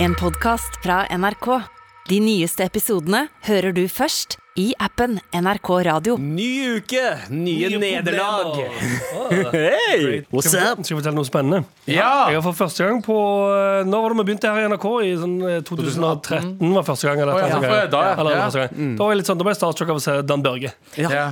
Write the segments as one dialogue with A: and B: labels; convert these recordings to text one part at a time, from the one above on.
A: En podcast fra NRK. De nyeste episodene hører du først i appen NRK Radio.
B: Ny uke, nye, nederlag.
C: Hey!
B: What's
C: skal,
B: up?
C: vi, skal vi fortelle noe spennende?
B: Ja!
C: Jeg har for første gang på eh, Når var det vi begynte her i NRK? I sånn eh, 2013 var første gang. Eller,
D: Å, ja,
C: første gang.
D: for da, ja.
C: eller,
D: Ja. Mm.
C: første gang. Da, var jeg litt sånn, da ble jeg starstruck av å se Dan Børge.
D: Ja.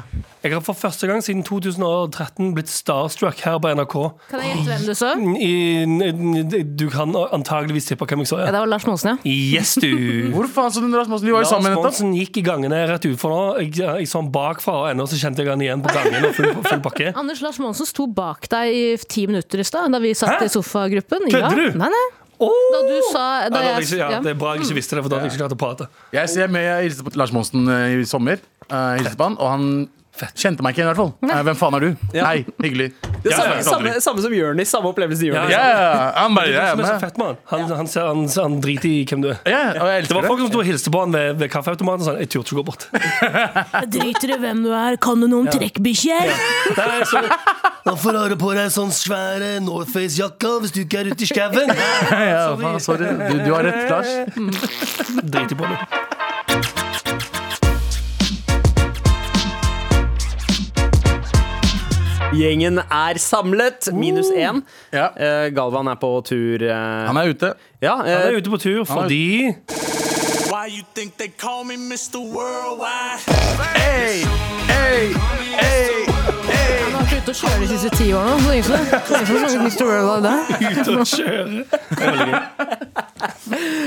C: Jeg har for første gang siden 2013 blitt starstruck her på NRK. Mm,
E: Kan jeg gjette hvem du så?
C: I, du kan antageligvis tippe hvem jeg så.
E: Ja,
C: Ja.
E: det var Lars Monsen, ja.
C: Yes, du!
D: Hvor faen så du Rasmussen? Vi var jo sammen nettopp.
C: Sponsen gikk i gangene rett utfor nå. Jeg, jeg så han bakfra, og ennå så kjente jeg han igjen på gangen. Og full, full pakke.
E: Anders Lars Monsen sto bak deg i ti minutter i stad, da vi satt
C: Hæ?
E: i sofagruppen.
C: Kødder du?
E: Nei, nei.
C: Åh!
E: Da du
C: Ja, da
E: sa da
C: hadde jeg
E: jeg,
D: liksom,
C: ikke- ja,
E: ja.
C: det er bra jeg ikke visste det, for da hadde jeg ikke klart å prate.
D: Jeg ser med jeg hilste på Lars Monsen eh, i sommer. Eh, hilste på han, og han kjente meg ikke igjen, i hvert fall. Eh, hvem faen er du? Hei, hyggelig.
B: Det er
D: Jeg
B: samme,
D: snakkes
B: samme,
D: aldri.
B: samme som Jonis. Samme opplevelse til Jonis.
D: Ja, ja, ja. han bare
C: Det
D: ja,
C: er det som er så
D: men-
C: fett med han. Han, han, ser- han, han driter i hvem du er.
D: ja, og jeg
C: Det var
D: elsker
C: folk
D: det.
C: som sto og hilste på han ved, ved kaffeautomaten og sa jeg turte ikke gå bort.
E: Driter i hvem du er, kan du noe om trekkbikkjer?
C: Nei, så,
F: Hvorfor har du på deg sånn svære Northface-jakka hvis du ikke er ute i skauen?
D: Ja, faen, sorry. Du, du har rett, Lars.
C: drit i på det.
B: Gjengen er samlet, minus én.
D: Ja.
B: Eh, Galvan er på tur. eh,
D: Han er ute.
B: ja, eh,
C: Jeg er ute på tur fordi
G: Why you think they call me Mr. Worldwide?
D: Hey, hey, hey.
E: Han har ikke ute og kjøre de siste ti årene. Så ingen som- så ingen som så Mr. World var der.
C: ute og kjører.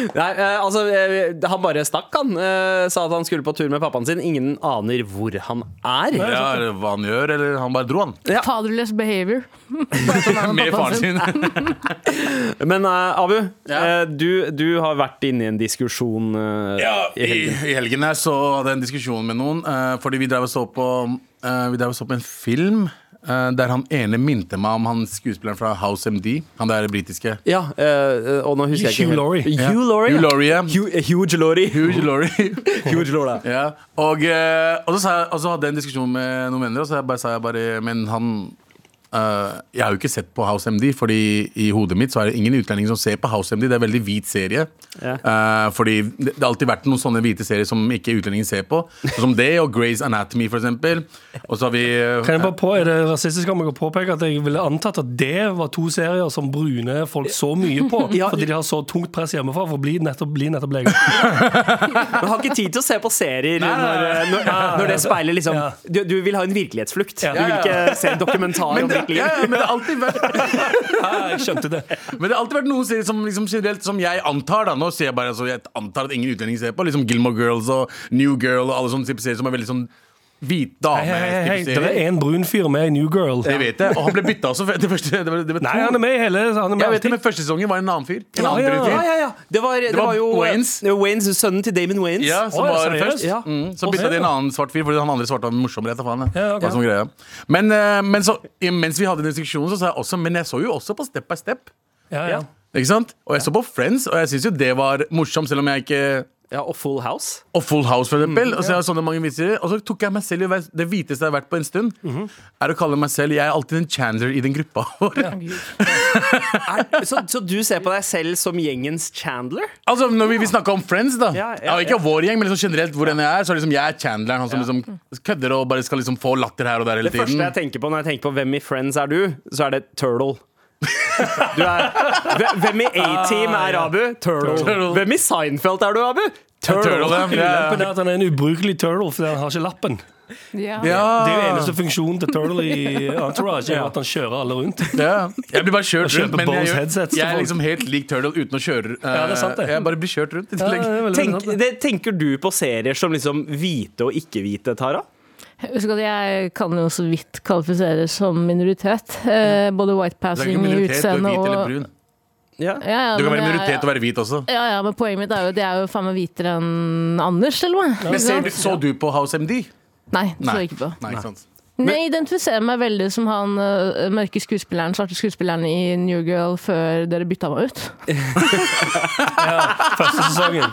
B: Nei, eh, altså, eh, han bare stakk, han. Eh, sa at han skulle på tur med pappaen sin. Ingen aner hvor han er.
D: Ja, er det hva han gjør, eller han bare dro, han.
B: Ja.
E: Fatherless behavior.
D: Med faren sin.
B: Men eh, Abu,
D: Ja.
B: eh, du, du har vært inne i en diskusjon eh,
D: Ja,
B: i helgen.
D: I, I helgen her så hadde jeg en diskusjon med noen. eh, fordi vi drev og så på eh, Vi drev og så på en film eh, der han ene minte meg om han skuespilleren fra House MD. Han der britiske.
B: Ja, eh, og nå husker jeg ikke
C: Hugh Laurie.
B: helt. Hugh Laurie.
D: Hugh Laurie, ja.
B: Hugh, eh, huge Laurie.
D: Huge Laurie.
B: Huge Laurie.
D: ja. og, eh, og, så sa jeg, og så hadde jeg en diskusjon med noen venner, og så jeg bare, sa jeg bare Men han eh, Jeg har jo ikke sett på House MD, fordi i hodet mitt så er det ingen utlendinger som ser på House MD. Det er en veldig hvit serie.
B: Ja.
D: Eh, fordi det, det har alltid vært noen sånne hvite serier som ikke utlendinger ser på. Sånn Som det og Grey's Anatomy, for eksempel. Og så har vi eh,
C: Kan jeg bare på, er det rasistisk om jeg kan påpeke at jeg ville antatt at det var to serier som brune folk så mye på?
B: Ja.
C: Fordi de har så tungt press hjemmefra for å bli nettopp, bli nettopp leger.
B: Men har ikke tid til å se på serier når, eh, når, når det speiler liksom du, du vil ha en virkelighetsflukt. Du vil ikke se en dokumentar om
D: ja,
B: virkeligheten.
D: ja, men det har alltid vært
C: Ja, jeg skjønte det.
D: Men det har alltid vært noen serier som liksom generelt Som jeg antar da Nå ser jeg bare altså, Jeg antar at ingen utlendinger ser på Liksom Gilmore Girls og New Girl Og alle sånne type serier Som er veldig sånn Hvit dame
C: Hei, hei, hei, hei.
D: type
C: Det er
D: serier
C: en brun fyr med i New Girl.
D: Det vet jeg Og han ble byttet også Det første det var, det var
C: Nei, han er med i hele han er med
D: Jeg vet
C: alltid.
D: det Men første sesongen var en annen fyr En
C: Ja,
D: annen brun
C: ja,
D: fyr
B: Ah, Ja, ja, ja. Det var, det
D: var
B: var jo
D: Wayans.
B: eh, Wayans, sønnen til Damon Wayans.
D: Ja, som
C: Å, ja,
D: var
C: seriøst?
D: først.
B: Ja.
D: Mm, så bytta de en annen svart fyr, fordi han andre svarte var morsommere. etter faen, jeg.
C: Ja, ok.
D: Det var sånn greie. Men, eh, men så, mens vi hadde den diskusjonen, så sa jeg også Men jeg så jo også på Step by Step.
C: Ja, ja.
D: Ikke sant? Og jeg så på Friends, og jeg syns jo det var morsomt, selv om jeg ikke
B: Ja, og Full House.
D: og Full House, for eksempel. og, så jeg har sånne mange vitser, og så tok jeg meg selv i å være- Det hviteste jeg har vært på en stund, er å kalle meg selv Jeg er alltid en Chandler i den gruppa vår.
B: Er, så, så du ser på deg selv som gjengens Chandler?
D: Altså, når vi, vi snakka om Friends, da.
B: Ja,
D: Ja,
B: ja,
D: ikke vår gjeng, men liksom generelt hvor enn jeg er, så er liksom jeg er Chandler, han som liksom kødder og bare skal liksom få latter her og der hele
B: Det første
D: tiden.
B: jeg tenker på når jeg tenker på hvem i Friends er du, så er det Turtle. Du er, hve- hvem i A-Team er Abu? Turtle.
D: Ah, Turtle.
B: Hvem i Seinfeld er du, Abu?
D: Turtle,
B: Turtle.
D: ja. ja.
C: Ulempen er at han er en ubrukelig turtle fordi han har ikke lappen.
E: Ja.
C: Det
D: Ja.
C: er jo eneste funksjonen til turtle i Entourage, er jo at han kjører alle rundt.
D: Ja. Jeg blir bare kjørt
C: kjøper
D: rundt. Men jeg,
C: Bose
D: gjør-
C: headsets til
D: jeg er
C: folk.
D: liksom helt lik Turtle uten å kjøre. eh,
C: det er sant, det.
D: Jeg bare blir kjørt rundt. i
C: Ja, det
D: tillegg.
C: er veldig
B: Tenk,
D: sånn.
C: interessant, det.
B: det, tenker du på serier som liksom hvite og ikke-hvite, Tara?
E: Husk at jeg kan jo så vidt kvalifiseres som minoritet. Eh, både
D: Du er ikke
E: whitepassing i
D: minoritet, du er
E: utseende
D: hvit eller
E: og
D: brun.
B: Ja.
E: Ja, ja,
D: Du kan
E: men
D: være
E: jeg-
D: minoritet og være hvit også.
E: Ja, ja, men poenget mitt er jo at jeg er jo faen meg hvitere enn Anders, eller noe.
D: Men ser du, Så du på House MD?
E: Nei, det står
D: Nei.
E: jeg ikke på.
D: Nei, ikke sant
E: Men jeg identifiserer meg veldig som han øh, mørke skuespilleren, svarte skuespilleren i New Girl før dere bytta meg ut.
C: Første Første sesongen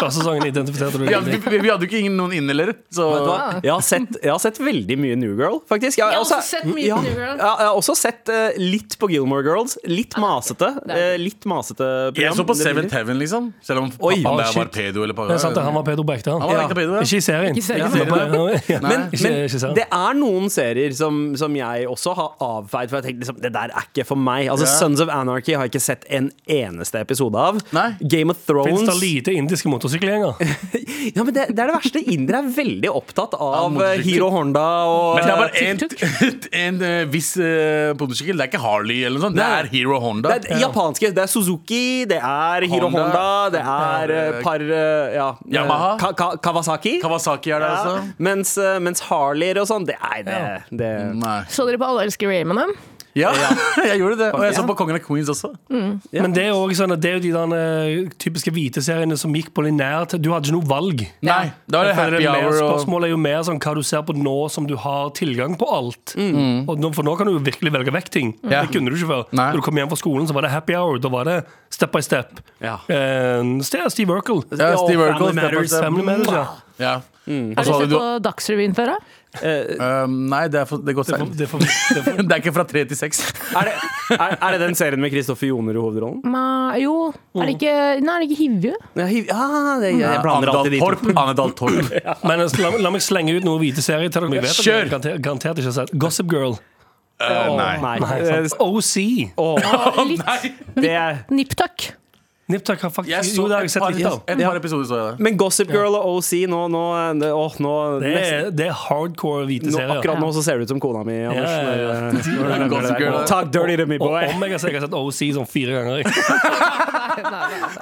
C: Første sesongen identifiserte du
D: Vi
C: deg
D: hadde,
C: med.
D: vi, vi hadde jo ikke ingen noen inn heller. Så
B: Vet du hva? Jeg har, sett, jeg har sett veldig mye New Girl, faktisk.
E: Jeg har også sett mye
B: ja,
E: New Girl.
B: Ja, jeg har også sett eh, litt på Gilmore Girls. Litt masete.
E: Ah, det er-
B: eh, litt masete program.
D: jeg så
B: Det
D: på
B: blir-
D: Seventh Heaven, liksom. Selv om
B: Oi.
D: pappaen
C: Ah,
D: der var
C: shit.
D: pedo. Eller
C: Det er sant, det. Han var Pedro på ekte,
D: Han var
C: han.
D: ekte pedo, ja.
C: Ikke i serien.
E: Ikke i serien.
C: Ja, ja.
D: Nei.
B: Men, men
C: Ikke- ikke sant.
B: det er noen serier som, som jeg også har avfeid, for jeg tenkte liksom, det der er ikke for meg. Altså,
D: Ja.
B: Sons of Anarchy har jeg ikke sett en eneste episode av.
D: Nei.
B: Game of Thrones
C: Fins det lite indiske motorsykkelgjenger?
B: ja, men det, det er det verste. Indere er veldig opptatt av
D: motorsykkel.
B: eh, Hiro Honda og
D: Men det er bare en, en eh, viss uh, motorsykkel. Det er ikke Harley eller noe sånt. Det
B: Nei.
D: er Hero Honda.
B: det er japanske. Det er Suzuki, det er Hiro
D: Honda.
B: Honda, det er eh, par eh, ja, eh,
D: Yamaha.
B: Ka Ka Kawasaki.
D: Kawasaki er det,
B: Ja.
D: altså.
B: Mens, eh, mens Harleyer og sånn, det er det, det
D: Nei.
E: Så dere på Alle elsker Raymond? da?
D: Ja, jeg gjorde det. Og jeg så på Kongen av Queens også.
C: Men det er, jo også sånn at det er jo de der eh, typiske hvite seriene som gikk på lineært. Du hadde ikke noe valg.
D: Nei, da var det
C: Jeg føler det
D: Happy
C: er mer,
D: Hour og
C: Spørsmålet er jo mer sånn hva du ser på nå som du har tilgang på alt. Og nå, for nå kan du jo virkelig velge vekk ting.
D: Mm. Ja.
C: Det kunne du ikke før.
D: Nei.
C: Når du kom hjem fra skolen, så var det happy hour. Da var det step by step.
B: Ja.
C: Eh, Ste- Steve Urkel.
D: ja,
B: Og
D: Steve Urkel.
B: Family Matters.
C: Family Matters, ja.
D: Ja. Og
E: Har
D: så
E: dere
D: hadde
E: sett
D: du
E: på Dagsrevyen før? da?
D: um, Nei, det, er for, det går
C: Det er for-
D: seint.
C: det er for- det er for-
D: Det er ikke fra tre til seks.
B: Er det, er, er det den serien med Kristoffer Joner i hovedrollen?
E: Ma, jo, er det ikke, nei, er det ikke Hivju?
B: Ja, hiv- ah, det, jeg, jeg blander alltid de
D: Anedal
B: to.
D: Torp. Anedal Torp. Eh,
C: Men altså, la, la meg slenge ut noen hvite serier til dere. Jeg vet at dere
D: Kjør!
C: garantert, garantert ikke har sett Gossip Girl.
D: Eh, Nei.
B: Nei,
C: Eh, OC.
E: Litt
B: det er
E: nipptak.
C: Niptak har
D: Jeg
C: faktisk Jo,
D: så
C: det har jeg
D: et
C: sett
D: par,
C: litt av.
D: et par episoder, så jeg det.
B: Men Gossip Girl og OC nå, nå, det- åh, nå,
C: Det
B: nesten,
C: er, det er hardcore hvite
B: nå
C: serier.
B: Akkurat nå så ser du ut som kona mi, Anders.
C: Ja, ja, ja.
B: når, eh, når du nevner det
D: Gossip Girl,
B: der.
D: ja.
B: Talk dirty to me,
C: Og
B: boy.
C: om jeg har sett, jeg har sett OC sånn fire ganger.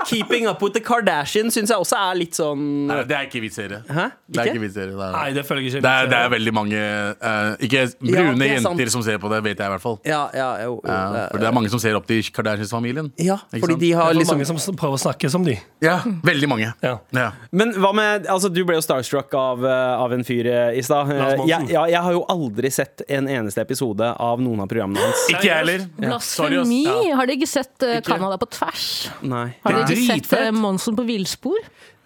B: Keeping up with the Kardashians syns jeg også er litt sånn
D: Nei, det er ikke vits serie.
B: Hæ?
D: Det er
B: Ikke?
D: ikke vits serie. det er-
C: Nei, det føler jeg ikke.
D: Det er, det er veldig mange eh, Ikke
B: Ja,
D: brune
B: det er sant.
D: jenter som ser på det, vet jeg i hvert fall.
B: Ja, ja, jo, jo,
D: Ja,
B: det-
D: for det er mange som ser opp til Kardashians-familien.
B: ja
D: Ikke
B: fordi
D: sant?
B: de har
C: Det er
B: liksom
C: mange som prøver å snakke som de.
D: Ja, veldig mange.
C: Ja.
D: Ja.
B: Men hva med Altså, du ble jo starstruck av, eh, av en fyr eh, i stad. Eh,
C: Lars Monsen.
B: Jeg, ja, jeg har jo aldri sett en eneste episode av noen av programmene hans.
D: Ikke jeg heller. Sorry, ass.
E: Blasfemi! Har dere ikke sett eh, Canada på tvers?
B: Nei.
E: Har dere
C: Det er
E: ikke sett eh,
C: dritfett.
E: Monsen på villspor?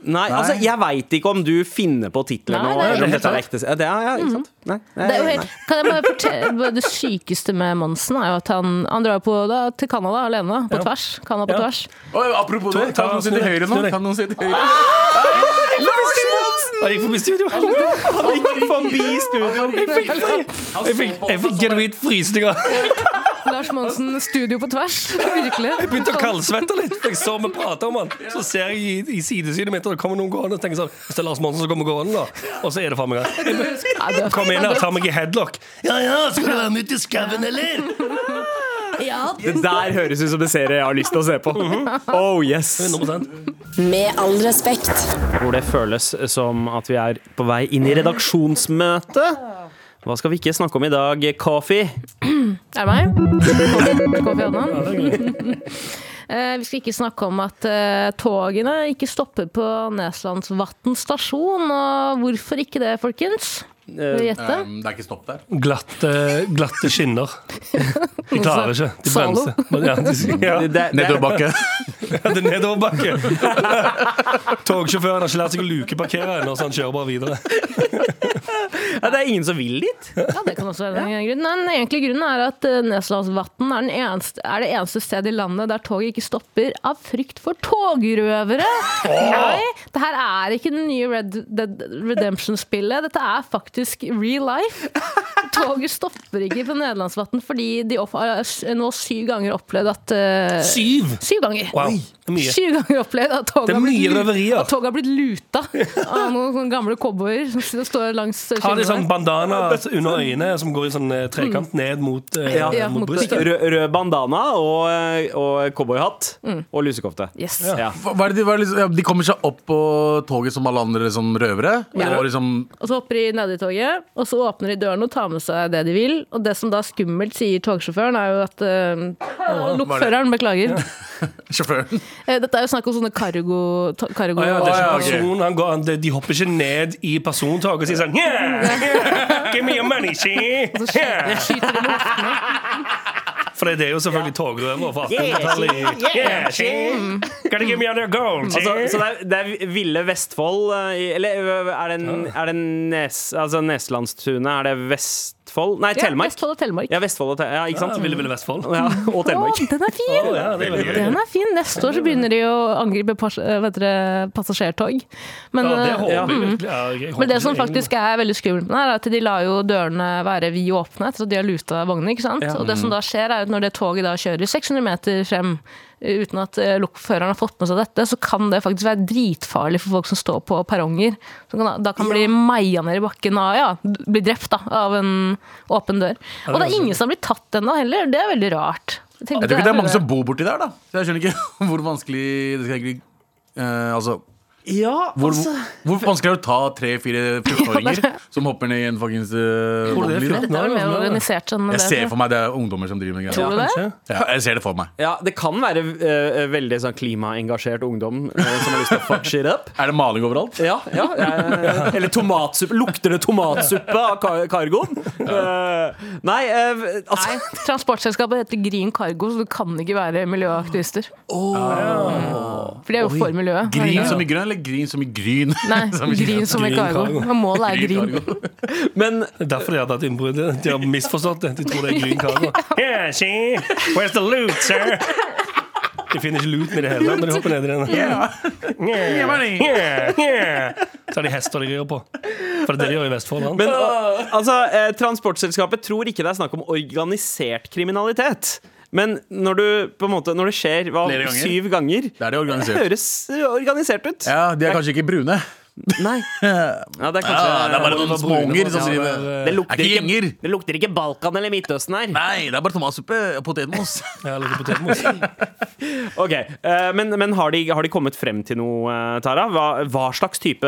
B: Nei, altså, jeg veit ikke om du finner på titlene
E: Nei,
B: og
E: det er
B: eller
C: helt
B: dette er
C: sant.
B: ekte. Ja, det Mhm. er, ja, ikke sant? Nei, nei,
E: Det, er jo
B: Eh, nei.
E: helt, kan jeg bare fortelle, bare det sykeste med Monsen er jo at han, han drar på, da, til Canada alene, da, på tvers. Canada på
C: Ja.
E: tvers.
D: Oi, apropos det,
C: ta-
D: kan noen si til
C: snu
D: høyre
C: deg, snu
D: nå?
C: deg.
D: Kan noen si til høyre?
C: Jeg gikk forbi studio.
B: Han gikk forbi studio.
C: Jeg fikk, jeg fikk genuint frysninger.
E: Lars Monsen, studio på tvers. Virkelig.
C: Jeg begynte å kaldsvette litt. for Jeg så vi pratet om han Så ser jeg i, i sidesynet mitt, og det kommer noen gående. Og tenker sånn, hvis det er Lars Monsen som kommer gående, da. Og så er det faen meg han.
E: Ja, det-
C: Kom inn her og tar meg i headlock.
F: Ja ja, skal du være med ut i skauen, eller?
E: Ja,
B: Det der høres ut som en serie jeg har lyst til å se på. Oh yes
C: 100%.
H: Med all respekt.
B: Hvor det føles som at vi er på vei inn i redaksjonsmøte. Hva skal vi ikke snakke om i dag, Coffee?
E: Er det meg? Kofi Annan? Eh, Vi skal ikke snakke om at eh, togene ikke stopper på Neslandsvatn stasjon. Og hvorfor ikke det, folkens? Vil du gjette?
D: Um, det er ikke stopp der.
C: Glatte, glatte skinner. De klarer ikke. De
E: Zalo.
C: bremser. Men Ja, de, ja.
B: Det, det,
D: Nedoverbakke.
C: Ja, det er nedoverbakke. Togsjåføren har ikke lært seg å lukeparkere ennå, så han kjører bare videre.
B: ja, det er ingen som vil dit.
E: Ja, det kan også være en grunn. Men den egentlige grunnen er at eh, Neslandsvatn er, den eneste- er det eneste stedet i landet der toget ikke stopper av frykt for togrøvere. Nei, det her er ikke det nye Red Dead Redemption-spillet. Dette er faktisk real life. Toget stopper ikke på Nederlandsvatn fordi de opp, har nå syv ganger opplevd at eh,
C: Syv!
E: Syv ganger!
C: Wow, det er mye.
E: Syv ganger opplevd at toget
C: Det er
E: har blitt
C: mye
E: lu-
C: røverier.
E: at toget har blitt luta av noen sånne gamle cowboyer som sitter og står langs eh,
C: Har de
E: skinnene.
C: sånn bandana under øynene som går i sånn eh, trekant ned mot, eh,
E: Mm. Ja, ja,
C: mot
E: mot
C: brystet?
B: Rød, rød bandana og, eh, og cowboyhatt og lusekofte.
E: Yes.
B: Ja.
D: Hva- Hva er det, de- hva er det, liksom- ja, de kommer seg opp på toget som alle andre som røvere.
E: Ja.
D: Og liksom,
E: Og så hopper de nedi toget, og så åpner de døren og tar med seg det de vil. Og det som da er skummelt, sier togsjåføren, er jo at uh, Lokføreren, beklager.
D: sjåføren.
E: Eh, Dette er jo snakk om sånne cargo... to- cargo
C: Å ja, det er sånn-
D: Å,
C: ikke
D: ja, ok.
C: person, han går, han, de- de hopper ikke ned i persontoget og sier sånn
E: Altså,
C: yeah, yeah, Give me your money, she.
E: Så skyter, skyter de mot
C: For det er jo selvfølgelig togrøver fra 1800-tallet. i- Yeah, she. Gotta give me all your gold, she.
B: Altså, så det er, det er Ville Vestfold eh, i- Eller ø, er det, en- er det nes, altså Neslandstunet? Er det Vestfold? Nei, Telemark.
E: Vestfold og Telemark.
B: Ja, Vestfold og Te- ja, ikke
C: Ja,
B: sant?
C: Ville Ville Vestfold.
B: Ja, og Telemark.
E: Å, den er fin!
C: Å, ja, det er veldig gøy.
E: Den er fin. Neste år så begynner de å angripe pas eh, vet dere, passasjertog. Men,
C: Ja, det håper
E: eh,
C: jeg
E: mm.
C: virkelig. Ja, jeg håper
E: Men det som
C: egentlig-
E: faktisk er veldig skummelt med det, her, er at de lar jo dørene være vid åpne etter at de har luta vognene. ikke sant? Og det som da skjer, er at når det toget da kjører 600 meter frem eh, uten at eh, lokføreren har fått med seg dette, så kan det faktisk være dritfarlig for folk som står på perronger. Så kan, da- da kan bli meia ned i bakken og ja, bli drept da, av en åpen dør. Og det er ingen som har blitt tatt ennå heller. Det er veldig rart. Jeg, tenkte
D: Jeg tror ikke det er
E: her
D: mange som bor borti der, da. Så jeg skjønner ikke hvor vanskelig det skal egentlig eh, Altså,
B: Ja,
D: hvor,
B: altså
D: hvor vanskelig er det å ta tre-fire 14-åringer som hopper ned i en fuckings eh,
C: Tror du det er
D: bobil, da?
E: Dette er vel mer organisert enn
D: Jeg
E: det.
D: ser for meg det er ungdommer som driver med
E: Tror
D: greier.
E: du det?
C: Kanskje?
D: Ja, jeg ser det for meg.
B: ja, Det kan være ø, ø, veldig sånn klimaengasjert ungdom ø, som har lyst til å fuck shit up.
D: Er det maling overalt?
B: Ja, ja, jeg- Eller tomatsuppe. Lukter det tomatsuppe av kar kargoen? Eh, nei, eh, altså
E: Nei, transportselskapet heter Green Cargo, så du kan ikke være miljøaktivister.
B: Ah.
E: For de er jo for miljøet.
D: Grin som i grønn, eller grin som i gryn?
E: Nei,
D: Som i
E: green som i
C: Green
E: cargo.
C: cargo.
E: Men målet er green.
D: Green cargo.
B: Men
C: Det er derfor de har tatt innbruddet. De har misforstått det. De tror det er green cargo. Yeah, she. Where's the loot, sir? De finner ikke looten i det hele tatt når de hopper ned i den. Yeah. Yeah, yeah. Så har de hester de rir på. For det er det de gjør i Vestfold. da.
B: Men al- altså, eh, transportselskapet tror ikke det er snakk om organisert kriminalitet. Men når, du, på en måte, når det skjer hva,
D: Flere ganger?
B: syv ganger
D: Da er det organisert.
B: høres eh, organisert ut.
D: Ja, de er kanskje ikke brune.
B: Nei. Ja, det er kanskje
D: Ja, det er bare noen småunger som
C: Ja,
D: driver
C: det
B: Det
D: Er
B: lukter
D: ikke
B: ikke,
D: gjenger.
B: det lukter ikke Balkan eller Midtøsten her.
D: Nei, det er bare tomatsuppe og potetmos.
C: Ja, litt potetmos.
B: Ok, eh, Men, men har, de, har de kommet frem til noe, eh, Tara? Hva, hva slags type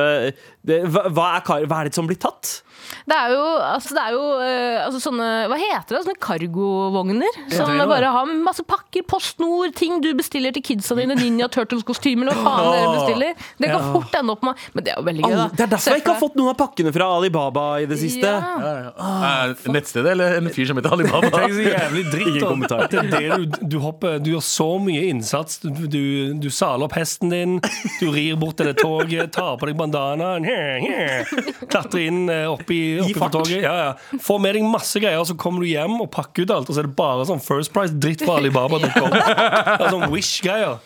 B: det, hva, hva, er, kar- hva er det som blir tatt?
E: Det er jo, altså, det er jo eh, altså, sånne Hva heter det? Sånne cargovogner? Som
C: det er det.
E: bare har masse pakker, PostNord, ting du bestiller til kidsa dine. Ninja Turtles-kostymer eller hva faen dere bestiller. Det kan fort ende opp med Men det er jo veldig gøy, da.
B: Alle, det er derfor jeg ikke har fått noen av pakkene fra Alibaba i det siste.
E: Ja.
D: Er det Nettstedet eller Ah, en fyr som heter Alibaba?
C: Tenk så jævlig dritt. da. Det er det du, du hopper Du gjør så mye innsats. Du, du, du saler opp hesten din, du rir bort til det toget, tar på deg bandanaen, yeah, yeah. klatrer inn eh, oppi, oppi på
B: fart.
C: toget. Ja, ja. Får med deg masse greier, så kommer du hjem og pakker ut alt, og så er det bare sånn First Price-dritt fra Alibaba.com. Det er Sånn Wish-greier.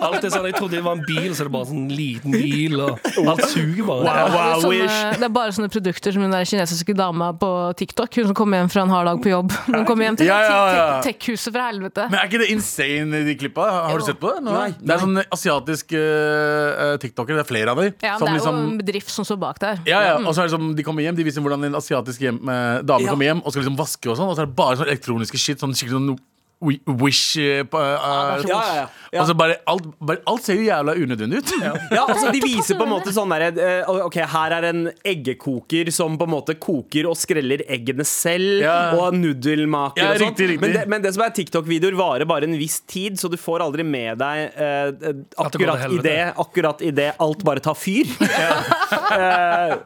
C: Alt er sånn, Jeg trodde det var en bil, så er det bare sånn liten bil, og alt suger bare.
E: Det er
B: Wow,
E: sånne,
B: wish.
E: det er bare sånne produkter som hun der kinesiske dama på TikTok. Hun som kom hjem fra en hard dag på jobb. Hun kom hjem til
D: Ja, ja, ja.
E: tech- tech-huset fra helvete.
D: Men er ikke det insane, de klippa? Har du sett på det? Nå?
B: Nei.
D: Det er sånne asiatiske eh, tiktokere, det er flere av dem. liksom
E: Ja, men det er jo en bedrift som står bak der.
D: ja, ja, og så er det som, De kommer hjem, de viser hvordan en asiatisk hjem, eh, dame kommer hjem og skal liksom vaske. og sånn Og så er det bare sånn elektroniske shit. Sånn skikkelig sånn wi- Wish eh, på, eh,
E: det er så
B: Ja, ja, ja.
D: Og så bare alt, bare alt ser jo jævla unødvendig ut.
B: Ja, altså De viser på en måte sånn der, eh, Ok, her er en eggekoker som på en måte koker og skreller eggene selv,
D: Ja.
B: og nudelmaker
D: Ja,
B: og sånt.
D: riktig, riktig.
B: Men, det, men det som er TikTok-videoer, varer bare en viss tid, så du får aldri med deg eh, eh,
C: At det går til
B: akkurat i
C: helvete.
B: det Akkurat i det alt bare tar fyr. Eh,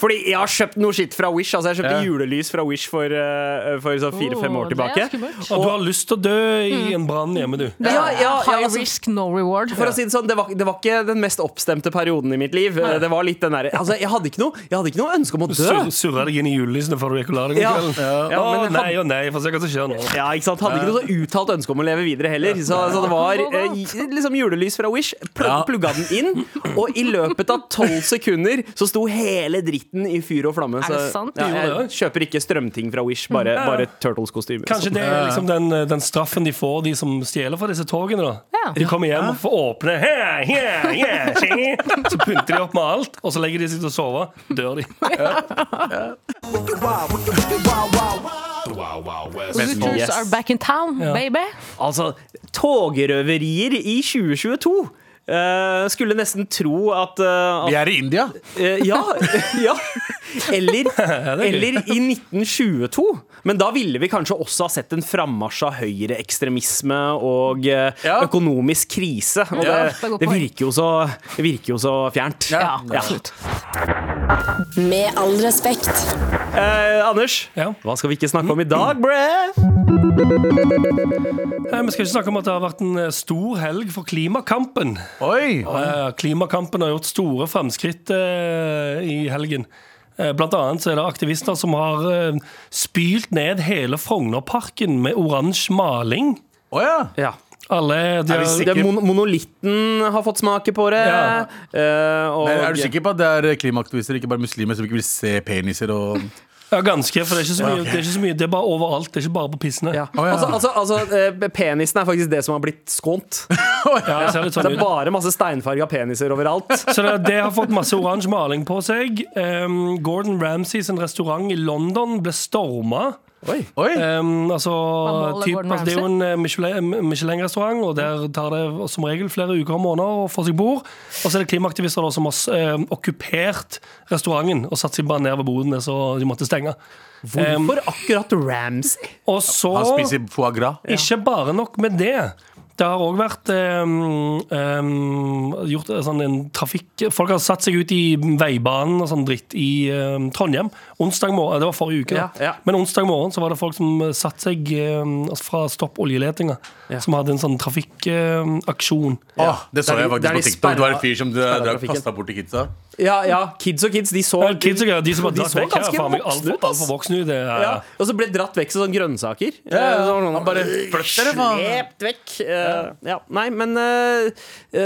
B: fordi jeg har kjøpt noe skitt fra Wish. Altså Jeg kjøpte julelys fra Wish for, eh, for sånn fire-fem
E: Åh,
B: år
E: det er
B: tilbake.
E: skummelt.
C: Og du har lyst til å dø i en brann hjemme, du.
E: Det er
B: Ja, ja, ja,
E: high
B: altså-
E: risk, no reward.
B: For å si det sånn, det var, det var ikke den mest oppstemte perioden i mitt liv. Det var litt den der, altså, jeg, hadde ikke noe, jeg hadde ikke noe ønske om å dø.
C: Sur- Surrer deg inn i julelysene før du gikk og la deg om
B: Ja.
C: kvelden.
B: Ja,
C: Å
B: men jeg
C: nei og nei, få se hva som skjer nå.
B: Ja, ikke sant? Hadde ikke noe så uttalt ønske om å leve videre heller. Så, så det var eh, i- liksom julelys fra Wish. Pl
D: Ja.
B: Plugga den inn, og i løpet av tolv sekunder så sto hele dritten i fyr og flamme.
E: Er
B: Så,
E: det sant?
B: Ja,
C: Jo, det
B: jeg kjøper ikke strømting fra Wish, bare, bare Turtles-kostymer.
C: Kanskje det er liksom den, den straffen de får, de som stjeler fra disse togene. da
E: Ja.
C: De kommer hjem og får åpne «Hæ, hæ, hæ, tji!» Så pynter de opp med alt, og så legger de seg til å sove. Dør de.
E: Hooters
B: yes.
E: are back in town, baby.
B: Altså, togrøverier i 2022! Eh, skulle nesten tro at, eh,
D: Vi
B: at
D: er i India.
B: Eh, ja, ja. Eller, eller i 1922. Men da ville vi kanskje også ha sett en frammarsj av høyreekstremisme og eh,
D: Ja.
B: økonomisk krise. Og det,
E: Det er godt
B: det,
E: poeng.
B: virker jo så, det virker jo så fjernt.
D: Ja,
H: Med all respekt.
B: Eh, Anders,
C: Ja.
B: Eh, hva skal vi ikke snakke om i dag, bre?
C: Nei, Vi skal ikke snakke om at det har vært en eh, stor helg for klimakampen.
D: Oi!
C: Eh, Klimakampen har gjort store fremskritt eh, i helgen. Eh, Blant annet så er det aktivister som har eh, spylt ned hele Frognerparken med oransje maling.
D: Å ja!
B: Ja.
C: Alle de
B: Er vi
C: har-
B: sikre? Det er mon monolitten har fått smake på det.
C: Ja.
B: eh, og-
D: Men er du sikker på at det er klimaaktivister, ikke bare muslimer, som ikke vil se peniser og
C: Ja, ganske, for det er ikke så mye. Det er, ikke så mye, det er bare overalt. Det er ikke bare på pissene.
B: Ja.
D: ja.
B: Altså, altså, altså eh, penisen er faktisk det som har blitt skånt.
C: Ja, det ser
B: Det
C: litt sånn
B: er
C: ut.
B: bare masse steinfarga peniser overalt.
C: Så det, det har fått masse oransje maling på seg. Um, Gordon Ramsays restaurant i London ble storma.
B: Oi.
D: Oi!
C: Um, altså,
E: måler
C: typ,
E: Gordon
C: altså, det er jo en eh, Michelin- Michelin-restaurant, og der tar det som regel flere uker og måneder å få seg bord. Og så er det klimaaktivister da, som har s- eh, okkupert restauranten og satt seg bare ned ved bodene, så de måtte stenge.
B: Hvorfor akkurat Ramsay?
C: Og så
D: Han spiser foie gras.
C: Ikke bare nok med det. Det har òg vært ehm, ehm, gjort eh, sånn en trafikk Folk har satt seg ut i veibanen og sånn dritt i ehm, Trondheim. Onsdag morgen, Det var forrige uke, da.
B: Ja, ja.
C: men onsdag morgen så var det folk som satte seg ehm, altså fra Stopp oljeletinga, som hadde en sånn trafikkaksjon.
D: Åh, det så
B: Der de-
D: jeg
B: der
D: faktisk
B: de
D: på TikTok. Det var en fyr som
B: sperra
D: drakk
B: trafikken.
D: pasta bort til kidsa.
B: Ja, ja, kids og kids, de så
C: Ja, Eh, kids og greier, de som har
B: De
C: dratt
B: så
C: vekk her,
B: ganske
C: faen meg
B: voksne
C: altfor
B: ut, ass.
C: alt voksne ut. Det, er-
B: ja. Og så ble dratt vekk som sånn grønnsaker. Eh, så var det noen-
D: Han bare flytt dere, faen!
B: Slept vekk. Eh, ja. Nei, men eh, eh,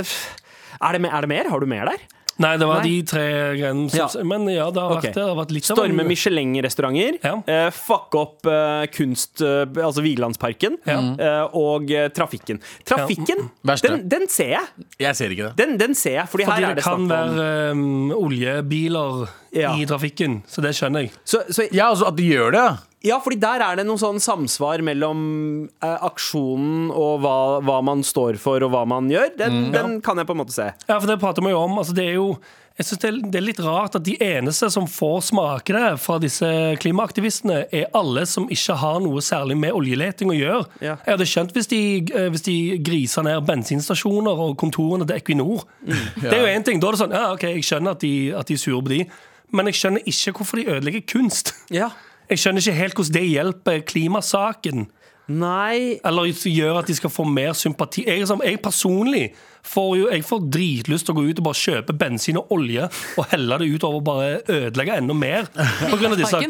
B: er, det, me- er det mer? Har du mer der?
C: Nei, det var
B: Nei.
C: de tre greiene. som-
B: Ja.
C: Men ja, det har
B: Ok.
C: vært, det. det har vært litt av en-
B: Storme Michelin-restauranter.
C: Ja.
B: eh, fuck opp eh, kunst... eh, altså Vigelandsparken. eh, og eh, trafikken. Trafikken,
D: Verste.
B: den, den ser jeg.
D: Jeg ser ikke det.
B: Den, den ser jeg, fordi,
C: Fordi
B: her er
C: det
B: det snakk
C: kan
B: om
C: være um, oljebiler
B: Ja.
C: i trafikken, så det skjønner jeg.
B: så, så,
D: Ja, altså at de gjør det.
B: Ja, fordi der er det noe sånn samsvar mellom eh, aksjonen og hva, hva man står for og hva man gjør. Den,
C: Mm.
B: den kan jeg på en måte se.
C: Ja, for det prater vi jo om. Altså, det er jo jeg synes det, er, det er litt rart at de eneste som får smake det fra disse klimaaktivistene, er alle som ikke har noe særlig med oljeleting å gjøre.
B: Ja.
C: Jeg hadde skjønt hvis de, eh, hvis de griser ned bensinstasjoner og kontorene til Equinor.
B: Mm.
C: Det er jo én ting. Da er det sånn, ja, ok, jeg skjønner at de, at de er sure på de, men jeg skjønner ikke hvorfor de ødelegger kunst.
B: Ja.
C: Jeg skjønner ikke helt hvordan det hjelper klimasaken.
B: Nei
C: Eller som gjør at de skal få mer sympati. Jeg, er sånn- jeg personlig får jo jeg får dritlyst til å gå ut og bare kjøpe bensin og olje og helle det ut over og bare ødelegge enda mer. På grunn av disse